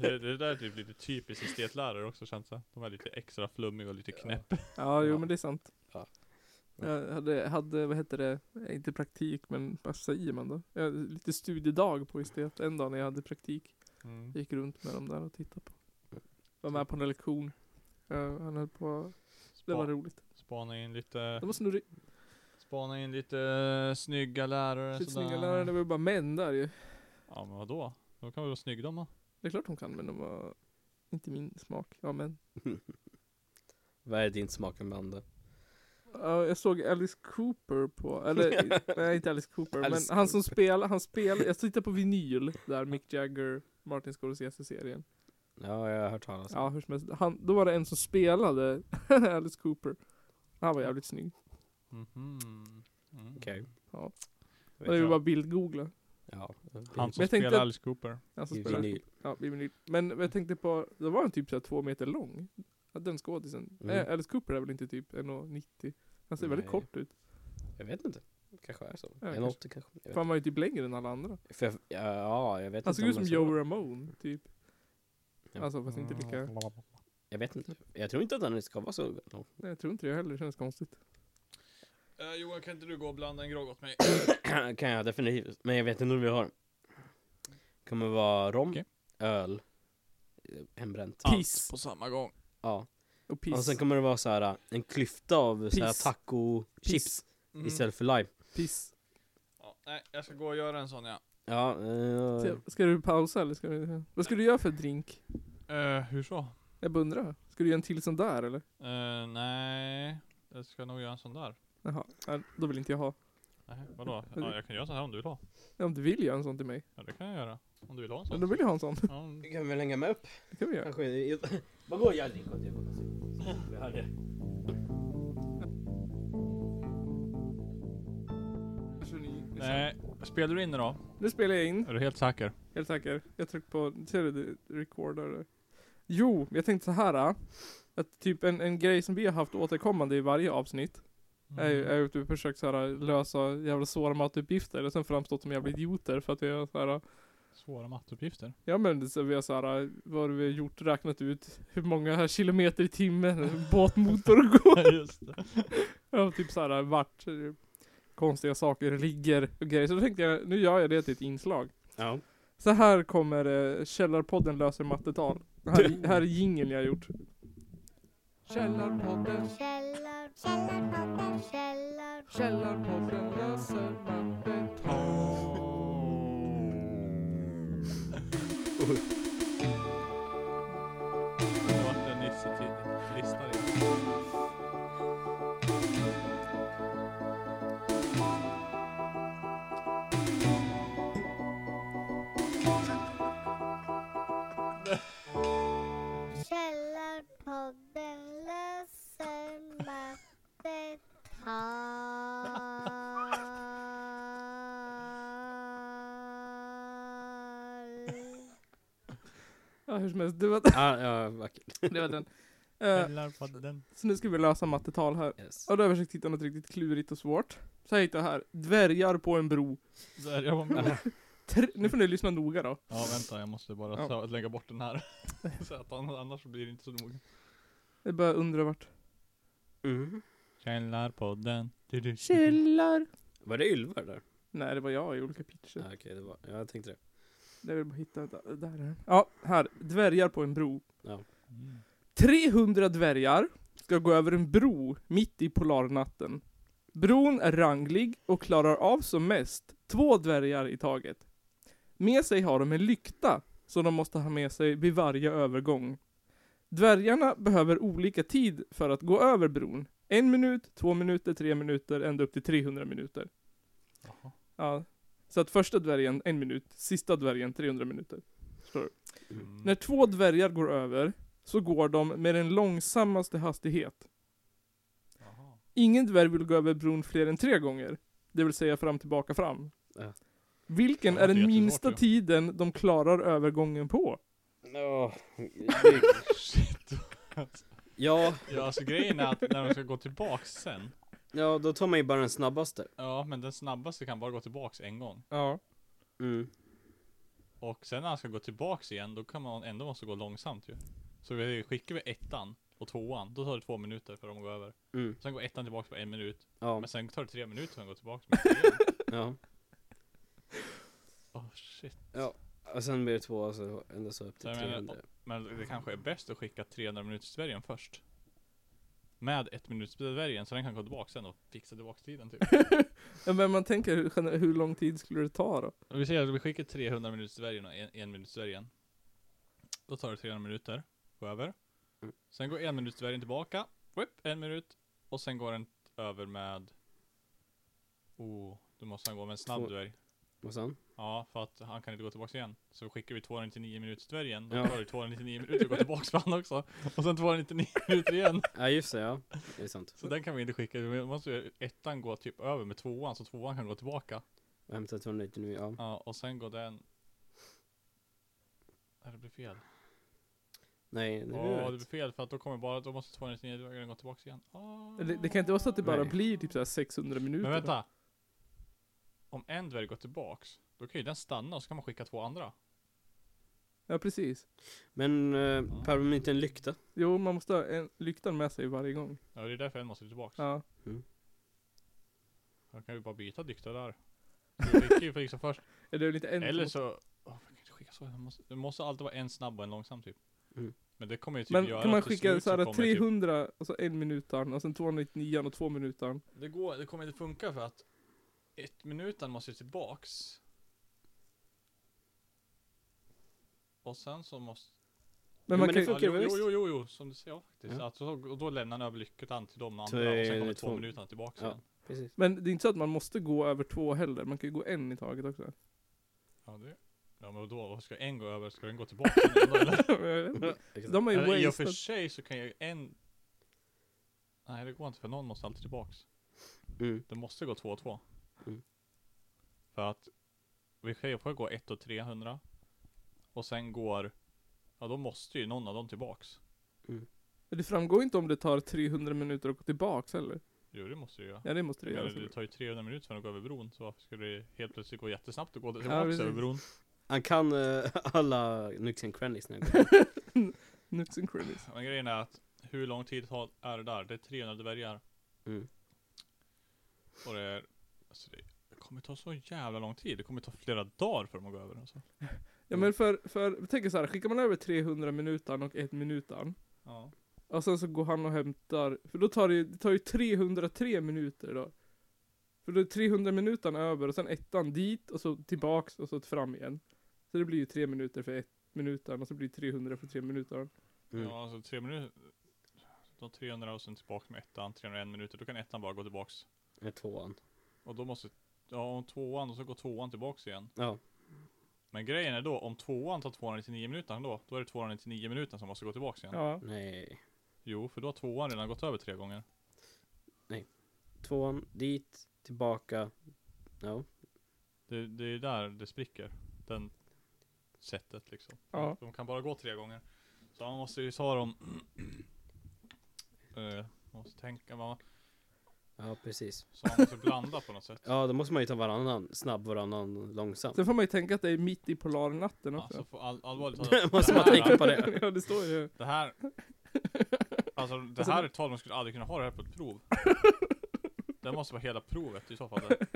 Det, det där är typ lite typiskt estetlärare också känns det. De är lite extra flummiga och lite knäppa.
Ja, jo
Ja.
men det är sant.
Ja.
Jag hade, hade, vad hette det, inte praktik men vad säger man då? Jag hade lite studiedag på estet en dag när jag hade praktik.
Mm.
Gick runt med dem där och tittade på. Var med på en lektion. Eh, han höll på, det var
Spa,
roligt.
spana in lite,
De var snurriga,
spana in lite eh, snygga lärare
lite
sådär.
snygga lärare, det var ju bara män där ju.
Ja men vadå? De kan väl vara snygga de då?
Det är klart de kan men de var inte min smak. Ja men.
Vad är din smak Amanda?
Ja, jag såg Alice Cooper på, eller nej inte Alice Cooper, men
Alice
han som spelar, han spelar, jag tittar på vinyl där, Mick Jagger, Martin Scorsese-serien.
Ja, jag har hört talas om
Ja hur som helst, han, då var det en som spelade Alice Cooper. Han var jävligt snygg.
Mhm. Mm.
Okej.
Ja.
Jag
Det är ju
vet
bara bildgoogla.
Ja.
Han som
jag tänkte
spelar
att-
Alice Cooper.
Alltså
I
spelar,
vinyl.
ja, i vinyl. Men jag tänkte på, då var han typ såhär två meter lång. Ja, Den skådisen.
Mm.
Eh, Alice Cooper är väl inte typ 1,90? Han ser väldigt
Nej.
kort ut.
Jag vet inte. Kanske är så.
Ja,
en 80 kanske. Jag vet
För han var ju typ längre än alla andra.
inte. För jag, ja, ja, jag vet
Han
inte.
såg
om
ut som
jag
Joe Ramone, typ.
Ja.
Alltså fast inte lika...
Mm.
Jag vet inte. Jag tror inte att han ska vara så lång.
Nej, jag tror inte det heller, det känns konstigt.
Eh, Johan kan inte du gå och blanda en grogg åt mig?
kan jag definitivt. Men jag vet inte om vi har. Kommer vara rom,
Okej.
öl, eh, hembränt.
Ah. Piss.
Allt på samma gång.
Ja.
Och piss.
Och sen kommer det vara så här eh, en klyfta av så här
Piss.
taco chips
Mm.
istället för lime.
Piss.
Ja, nej, jag ska gå och göra en sån ja.
Ja, eh,
Så, Ska du pausa eller ska du... Vad ska du göra för drink?
Eh, hur så?
Jag bara undrar. Ska du göra en till sån där eller?
Eh, nej, jag ska nog göra en sån där.
Jaha, ja, då vill inte jag ha.
Nej, vadå? Ja, jag kan göra en sån här om du vill ha.
Ja, om du vill göra en sån till mig.
Ja, det kan jag göra. Om du vill ha en
Ja,
sån.
då vill jag ha en sån.
Ja, mm.
det kan vi hänga med upp
Det kan vi göra.
kanske. Vadå jag dricker åt dig? Vi har det.
Nej, spelar du in idag?
Nu spelar jag in.
Är du helt säker?
Helt säker. Jag tryckte på, ser du det? Recorder. Jo, jag tänkte så här. äh, Att typ en, en grej som vi har haft återkommande i varje avsnitt. Mm. Är ju
Mm.
är ju att vi försökt så här äh, lösa jävla svåra typ matuppgifter och sen framstått som jävla idioter för att vi har så här. äh,
Svåra matteuppgifter.
Ja men det- så vi har så här, äh, vad har vi har gjort, räknat ut hur många här kilometer i timmen en båtmotor går.
Just det.
Ja, typ så här vart eh, konstiga saker ligger och grejer. Så då tänkte jag, nu gör jag det till ett inslag.
Ja.
Så här kommer eh, Källarpodden löser mattetal. Här, här är jingeln jag har gjort. Källarpodden,
Källar, källarpodden, källar,
Källarpodden löser mattetal.
Det vart en nissetid-lista redan.
källarpodden löser mattetal.
Ja, hur som helst, det var,
Ja, ja, vackert.
det var den. Eh,
Källarpodden.
så nu ska vi lösa mattetal här.
Yes.
Och då har jag försökt hitta något riktigt klurigt och svårt. Så jag hittade här, dvärgar på en bro.
Där jag var med.
Tre, nu får ni lyssna noga då.
Ja vänta, jag måste bara
Ja.
ta, lägga bort den här. så att annars, annars blir det inte så noga.
Jag börjar undra vart.
Mm.
Källarpodden. Du, du.
Källar.
Var det Ylva där?
Nej, det var jag i olika pitcher.
Ja, Okej, det var, ja, jag tänkte det.
Jag vill bara hitta, där, där är den. Ja, här. Dvärgar på en bro.
Mm.
300 dvärgar ska gå över en bro mitt i polarnatten. Bron är ranglig och klarar av som mest två dvärgar i taget. Med sig har de en lykta som de måste ha med sig vid varje övergång. Dvärgarna behöver olika tid för att gå över bron. En minut, två minuter, tre minuter, ända upp till 300 minuter.
Jaha.
Ja. Så att första dvärgen, en minut, sista dvärgen, 300 minuter. Förstår du?
Mm.
När två dvärgar går över så går de med den långsammaste hastighet.
Jaha.
Ingen dvärg vill gå över bron fler än tre gånger. Det vill säga fram, tillbaka, fram.
Ja.
Vilken
Ja,
är
det är
den
jättesvårt
minsta
ju.
tiden de klarar övergången på?
Ja,
Shit.
ja,
Ja alltså grejen är att när de ska gå tillbaks sen.
ja, då tar man ju bara den snabbaste.
Ja men den snabbaste kan bara gå tillbaks en gång.
Ja.
Mm.
Och sen när han ska gå tillbaks igen då kan man ändå måste gå långsamt ju. Så vi skickar vi ettan och tvåan, då tar det två minuter för dem att gå över.
Mm.
Sen går ettan tillbaks på en minut.
Ja,
Men sen tar det tre minuter för dem att gå tillbaks. med den igen.
ja.
Åh shit.
Ja, Och sen blir det två och så ända så upp till
Så jag menar,
300.
Men det kanske är bäst att skicka 300 minuters Sverige först. Med ett minuters Sverige så den kan gå tillbaka sen och fixa tillbaka tiden typ.
Ja, men man tänker hur- gener- hur lång tid skulle det ta då?
Om vi säger att vi skickar 300 minuter till Sverige och en, en minut till Sverige. Då tar det 300 minuter. Gå över.
Mm.
Sen går en minut till Sverige tillbaka. Whip, en minut. Och sen går den över med... Oh, då måste han gå med en snabb
Två-
dvärg.
Och sen?
Ja, för att han kan inte gå tillbaka igen. Så skickar vi 299 minuter till Sverige igen. Då
Ja.
tar det 299 minuter att gå tillbaka för han också. Och sen 299 minuter igen.
Ja just det, ja. Det är sant.
Så den kan vi inte skicka. Vi måste ju ettan gå typ över med tvåan, så tvåan kan gå tillbaka.
Jag hämtar 299, ja.
Ja, och sen går den... Nej, det blir fel.
Nej, det
Ja,
blir
det blir
rätt.
fel för att då kommer bara, då måste 299 dvärgen gå tillbaka igen. Åh.
Det, det kan inte vara så att det bara
Nej.
blir typ så här 600 minuter.
Men vänta! Om en dvärg går tillbaks, då kan ju den stanna och så kan man skicka två andra.
Ja, precis.
Men eh, Per, om inte en lykta?
Jo, man måste ha en lyktan med sig varje gång.
Ja, det är därför en måste tillbaks.
Ja.
Då kan vi bara byta dykta där. Vi skickar ju liksom först.
Eller det är lite en som
Eller
måste-
så... Åh, man kan inte skicka så. Det måste, det måste alltid vara en snabb och en långsam typ.
Mm.
Men det kommer ju typ
Men
göra
kan man
att till
skicka
slut
så här
kommer typ-
300 och så en minutan och sen 299 och två minutan.
Det, går, det kommer inte funka för att ett minuten måste ju tillbaks. Och sen så måste...
Ja,
Men man
men
kan
det
ju...
får- funkar
jo,
väl
jo,
visst.
jo, jo, jo, som du säger ja, faktiskt.
Ja.
Att, och, och då lämnar han över lyckotan till de andra
Tre-
och sen kommer två,
två.
minuter tillbaka
Ja.
igen.
Precis.
Men det är inte så att man måste gå över två heller, man kan ju gå en i taget också.
Ja, det, ja, men då vad ska en gå över, ska den gå tillbaka igen ändå, eller?
De har ju
eller? I och för
wasted.
sig så kan ju en... Nej, det går inte för någon måste alltid tillbaks.
Mm.
Det måste gå 2 och 2.
Mm.
För att vi kan- får gå 1 och 300. Och sen går, ja då måste ju någon av dem tillbaks.
Det framgår inte om det tar 300 minuter att gå tillbaks heller.
Jo det måste ju göra.
Ja, det måste det
Men
göra.
det,
såklart.
tar ju 300 minuter för att gå över bron. Så varför skulle det helt plötsligt gå jättesnabbt att gå
Ja,
tillbaks
precis.
över bron?
Han kan eh, alla Nooks and Crannies när
Nooks and crannies.
Men grejen är att hur lång tid tar- är det där? Det är 300 dvärgar.
Mm.
Och det är, alltså det kommer ta så jävla lång tid. Det kommer ta flera dagar för dem att gå över. Alltså.
Ja men för, för, tänk er så här, skickar man över 300 minutan och 1 minutan.
Ja.
Och sen så går han och hämtar, för då tar det, ju- det tar ju 303 minuter då. För då är 300 minutan över och sen ettan dit och så tillbaks och så fram igen. Så det blir ju 3 minuter för 1 minutan och så blir det 300 för 3 minuter.
Mm.
Ja, alltså tre minuter. De 300 och sen tillbaks med ettan, 301 minuter. Då kan ettan bara gå tillbaks.
Med tvåan.
Och då måste, ja om tvåan, och så går tvåan tillbaks igen.
Ja.
Men grejen är då, om tvåan tar 299 minuter ändå, då är det 299 minuter som måste gå tillbaks igen.
Ja.
Nej.
Jo, för då har tvåan redan gått över tre gånger.
Tvåan, dit, tillbaka. Ja.
Det, det är där det spricker. Den sättet liksom.
Ja.
De kan bara gå tre gånger. Så man måste ju ta dem... Eh, man måste tänka, man,
Ja, precis.
så man måste blanda på något sätt.
Ja, då måste man ju ta varannan snabb, varannan långsam.
Sen får man ju tänka att det är mitt i polarnatten också.
Alltså för all, allvarligt talat,
Då måste man
det här-
tänka på det.
ja det står ju.
Det här Alltså det här är ett tal man skulle aldrig kunna ha det här på ett prov Det måste vara hela provet i så fall det.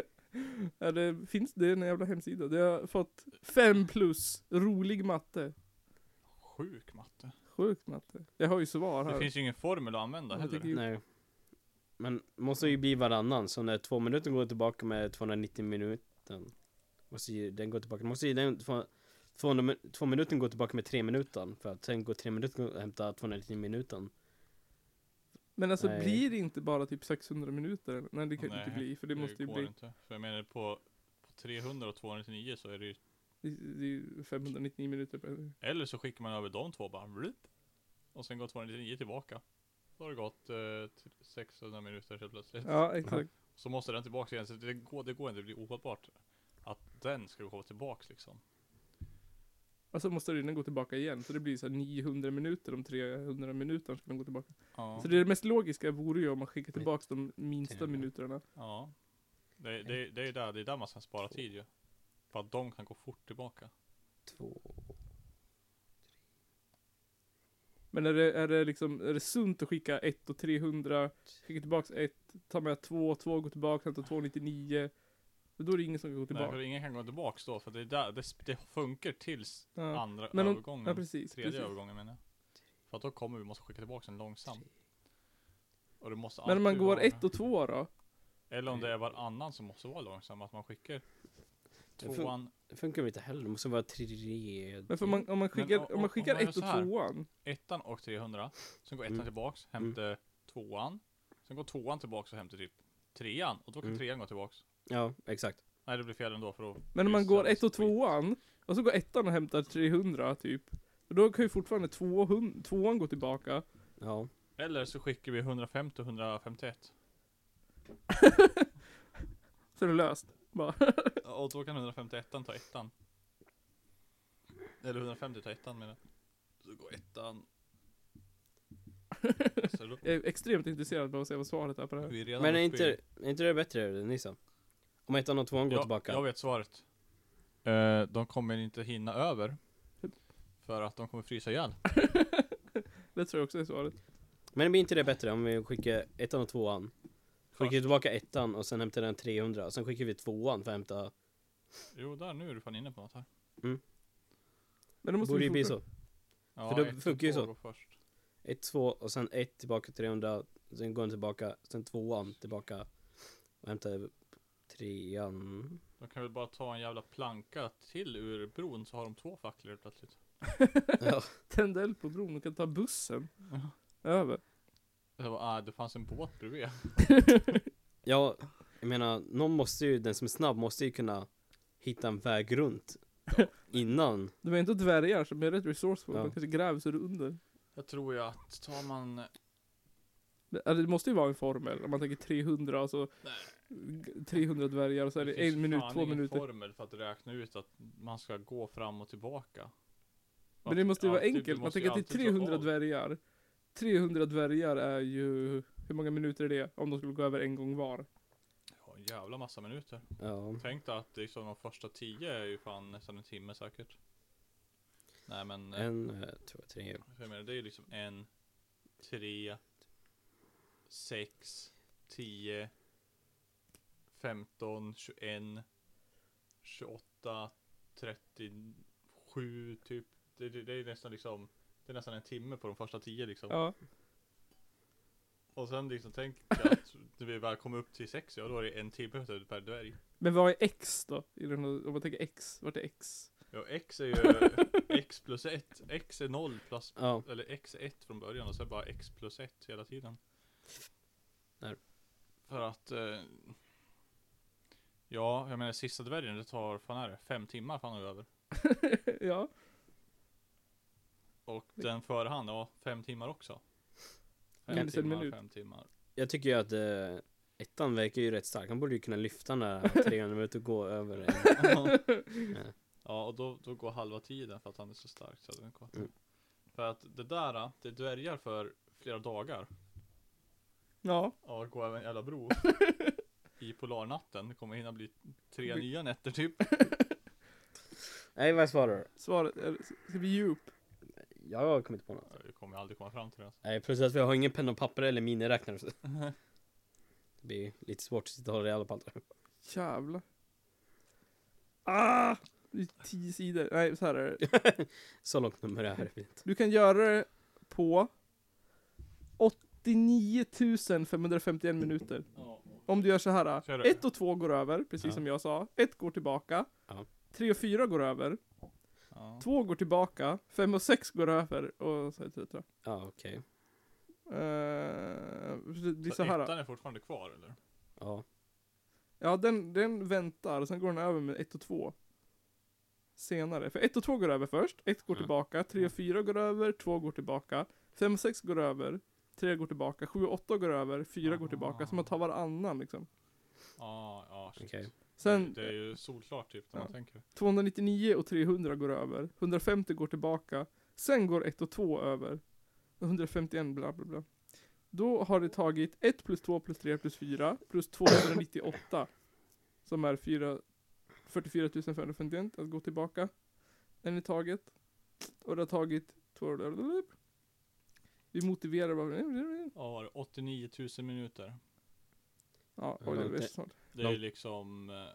Ja, det finns, det är en jävla hemsida. Det har fått 5 plus, rolig matte.
Sjuk matte
Sjukt matte. Jag har ju svar här.
Det finns ju ingen formel att använda
Jag
heller
tycker-
Nej. Men måste ju bli varannan, så när två minuter går tillbaka med 290 minuten. Måste ju den gå tillbaka. Måste ju den två, två, två minuten gå tillbaka med tre minuten. För att sen går tre minuter och hämta 290 minuten.
Men alltså
Nej.
blir det inte bara typ 600 minuter? eller? Nej det kan ju
Nej,
inte bli, för det, måste ju
går
bli
inte. För jag menar på, på 300 och 299 så är det ju
det, det är ju 599 minuter per.
Eller så skickar man över de två bara blup, Och sen går 299 tillbaka Då har det gått eh, t- 600 minuter helt plötsligt
Ja exakt.
Så måste den tillbaka igen, så det går, det går inte, det blir ohållbart Att den ska gå tillbaks liksom
Och så måste den gå tillbaka igen, så det blir så här 900 minuter om 300 minuter ska den gå tillbaka.
ja.
Så det mest logiska vore ju om man skickar tillbaka de minsta
300.
minuterna.
Ja. Det, det, det, är där, det är där man ska spara tid ju. För att de kan gå fort tillbaka.
Två.
Men är det, är det liksom, är det sunt att skicka 1 och 300, skicka tillbaka 1, ta med 2, 2 går tillbaka, hämta 299, För då är det ingen som kan gå
Nej,
tillbaka.
för ingen kan gå tillbaks då, för det, är där, det, sp- det funkar tills
ja.
andra
Men om-
övergången.
ja, precis.
tredje
precis.
övergången menar jag. För att då kommer vi måste skicka tillbaka den långsamt. Och det måste
Men om man
alltid
går
vara-
ett och två då?
Eller om det är varannan som måste vara långsam, att man skickar
Det
tvåan,
Det funkar väl inte heller, det måste vara tre...
Men för man, om man skickar,
om-
om
om
man skickar
man gör
ett och
så här.
tvåan.
ettan och 300. Sen går ettan
Mm.
tillbaks, hämtar tvåan. Sen går tvåan tillbaks och hämtar typ trean. Och då kan
Mm.
trean gå tillbaks.
Ja, exakt.
Nej det blir fel ändå för då
Men om man
kryssar
går
det
ett och
skit.
tvåan. Och så går ettan och hämtar 300 typ. Och då kan ju fortfarande 200, tvåan gå tillbaka.
Ja.
Eller så skickar vi 150 och 151.
Så är det löst. Bara.
Och då kan 151 ta ettan. Eller 150 ta ettan menar jag. Så går ettan. Så då-
Jag är extremt intresserad av att se vad svaret är på det här.
vi är redan
Men är
uppe i-
inte, är inte det bättre, Nissa? Om ettan och tvåan går
Ja,
tillbaka?
Jag vet svaret. Eh, de kommer inte hinna över. För att de kommer frysa ihjäl.
Det tror jag också är svaret.
Men blir inte det bättre om vi skickar ettan och tvåan? Skickar vi tillbaka ettan och sen hämtar den 300, och sen skickar vi tvåan för att hämta...
Jo, där nu är du fan inne på något här.
Men då måste
Borde
vi
ju bli
fortfarande-
så.
Ja,
För det
ett och
funkar ju
två
så.
går Först.
1, 2 och sen 1 tillbaka 300, sen går den tillbaka, sen tvåan tillbaka och hämtar trean.
De kan väl bara ta en jävla planka till ur bron så har de två facklor plötsligt.
Ja,
Tänd eld på bron och kan ta bussen
Ja.
över.
Det, var, ah, det fanns en båt bredvid.
ja, jag menar, någon måste ju, den som är snabb måste ju kunna hitta en väg runt innan.
De är inte dvärgar som är rätt resourceful.
Ja.
De kanske gräver sig under.
Jag tror ju att tar man...
Det, alltså, det måste ju vara en formel. Om man tänker 300 alltså.
Nej.
g- 300 dvärgar och så är det,
finns
en minut,
fan
två
ingen
minuter.
formel för att räkna ut att man ska gå fram och tillbaka.
Men det måste ju vara
Alltid- du
enkelt. Man
typ, måste ju
tänker att det är
alltid ta
300
av.
dvärgar. 300 dvärgar är ju... Hur många minuter är det? Om de skulle gå över en gång var.
Ja, en jävla massa minuter.
Ja,
Tänk dig att liksom de första tio är ju fan nästan en timme säkert. Nej men, eh,
en, eh, två, tre.
jag menar det är ju liksom en, tre, sex, tio, femton, tjugoen, tjugoåtta, trettiosju typ. Det, det, det är nästan liksom, det är nästan en timme på de första tio liksom.
Ja.
Och sen liksom tänk dig att när vi väl kommer upp till sex, ja då är det en timme per dvärg.
Men vad är X då? I den här, om man tänker X, vart är X?
Ja, x är ju x plus 1. X är 0 plus,
Ja,
eller x är 1 från början och så är det bara x plus 1 hela tiden.
Där.
För att, eh, ja, jag menar sista dvärgen, det tar, fan är det, fem timmar fan och över.
ja.
Och den före han, ja, fem timmar också. Fem
Minst en
timmar,
minut.
fem timmar.
jag tycker ju att eh, ettan verkar ju rätt stark. Han borde ju kunna lyfta den där 300 minuter och gå över en.
Ja, och då, då går halva tiden för att han är så stark. Så att den kommer.
Mm.
För att det där, eh, det dvärgar för flera dagar.
Ja.
Ja, gå över en jävla bro. I polarnatten. Det kommer hinna bli tre
Bli-
nya nätter typ.
Nej, vad svarar du?
Svaret är, ska bli djup.
Jag kommer inte på något.
Ja, Vi kommer aldrig komma fram till det. Alltså.
Nej, plus att vi har ingen penna och papper eller miniräknare. så Det blir lite svårt att sitta och hålla reda på allt. det.
Jävlar. Ah! Det är tio sidor. Nej, så här är det.
Så långt nummer är det inte.
Du kan göra det på 89 551 minuter. Om du gör så här.
Kör det.
1 och 2 går över, precis
Ja.
som jag sa. 1 går tillbaka.
Ja.
3 och 4 går över.
Ja.
2 går tillbaka. 5 och 6 går över. Och så etc. Uh,
Ja, okej.
Eh, det blir
Så,
så här.
ettan är fortfarande kvar eller?
Ja.
Ja, den, den väntar. Sen går den över med 1 och 2. Senare. För 1 och 2 går över först. 1 går
Ja.
tillbaka. 3 och 4 går över. 2 går tillbaka. 5 och 6 går över. 3 går tillbaka. 7 och 8 går över. 4 går tillbaka. Så man tar varannan liksom.
Ja, ja. shit.
Okej.
Sen
Det är ju solklart typ när man
Ja.
tänker.
299 och 300 går över. 150 går tillbaka. Sen går 1 och 2 över. och 151 bla bla bla. Då har det tagit 1 plus 2 plus 3 plus 4 plus 298. Som är 4, 44 551 att gå tillbaka. Den är taget. Och det har tagit... två- Vi motiverar bara...
Ja, var det 89 000 minuter?
Ja, oj, det är snart.
Det är ju liksom eh,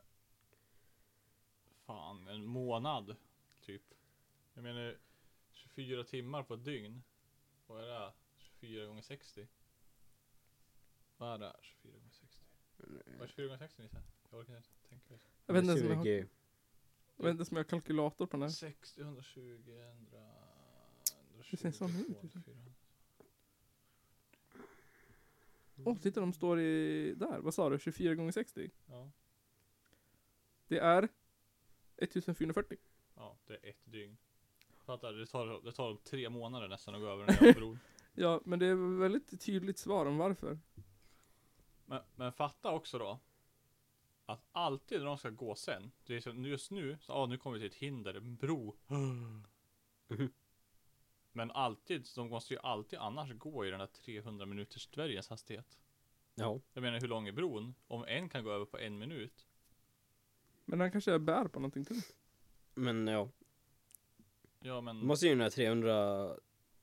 fan, en månad typ. Jag menar 24 timmar på ett dygn. Vad är det? 24 gånger 60? Vad är det? 24 gånger 60? Vad är 24 gånger 60 Nisse? Jag orkar inte tänka. just
Jag vet inte ens om jag har-
20.
jag vet inte ens om jag har kalkylator på den
nu.
här.
60, 120, 100,
Det ser sån ut,
120, 200.
Åh,
Mm.
titta de står i... Där, vad sa du? 24 gånger 60?
Ja,
Det är 1440.
ja, det är ett dygn. Fattar, det tar, det tar tre månader nästan att gå över den här bron.
Ja, men det är väldigt tydligt svar om varför.
Men, men fatta också då. Att alltid när de ska gå sen. Det är som just nu, så, ah, nu kommer vi till ett hinder, en bro. Men alltid, så de måste ju alltid annars gå i den här 300 minuters Sveriges hastighet.
Ja.
Jag menar hur lång är bron? Om en kan gå över på en minut.
Men han kanske bär på någonting till.
Men ja.
Ja men.
Då måste ju den här 300...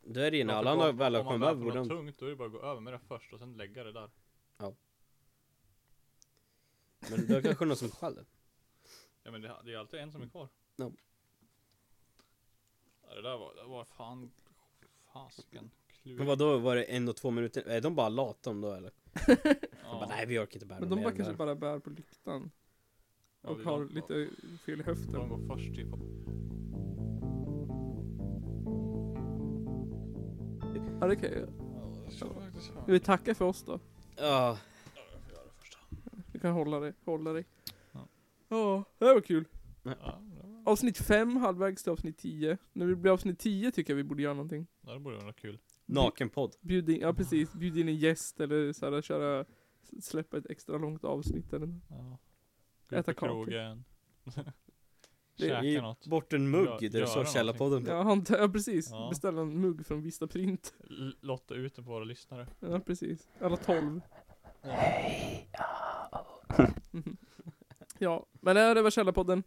Då är det ju när
Ja,
alla
för
andra
om-
väl har
om man
kommit
bär
över
på något
borden.
tungt då är det bara att gå över med det först och sen lägga det där.
Men då kanske någon som skäller.
Ja men det, det är alltid en som är kvar.
Ja.
Ja, det där var, det var fan, fasiken.
Men vadå, var det en och två minuter? Är de bara lata om då eller? De bara, nej vi orkar inte bära
Men de
mer
bara
än
kanske
det
bara bär på lyktan.
Ja,
Och
det är
har
de-
lite fel i höften.
De går först typ.
Ja, det kan jag göra. Vi tackar för oss då.
här." Ja,
Du kan hålla dig, hålla dig.
Ja.
Ja, det här var kul.
Ja, det var-
Avsnitt 5, halvvägs till avsnitt 10. När vi blir avsnitt 10 tycker jag vi borde göra någonting.
ja, det borde vara kul.
nakenpodd.
Bjud in, ja precis, bjud in en gäst eller så här, köra, släppa ett extra långt avsnitt eller något.
Ja.
Äta
på
kakor.
krogen.
Det är-
Ge
Käka något.
bort en
Gör-
mugg där det
göra
står
någonting.
Källarpodden på.
Ja, han, ja precis,
Ja.
beställa en mugg från Vista Print.
L- Lotta ut den på våra lyssnare.
Ja precis, alla 12. Mhm. ja, men det här var Källarpodden.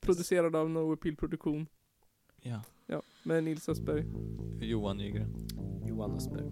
Producerad av No Appeal Produktion.
Ja.
Ja, med Nils Östberg.
Johan Nygren.
Johan Östberg.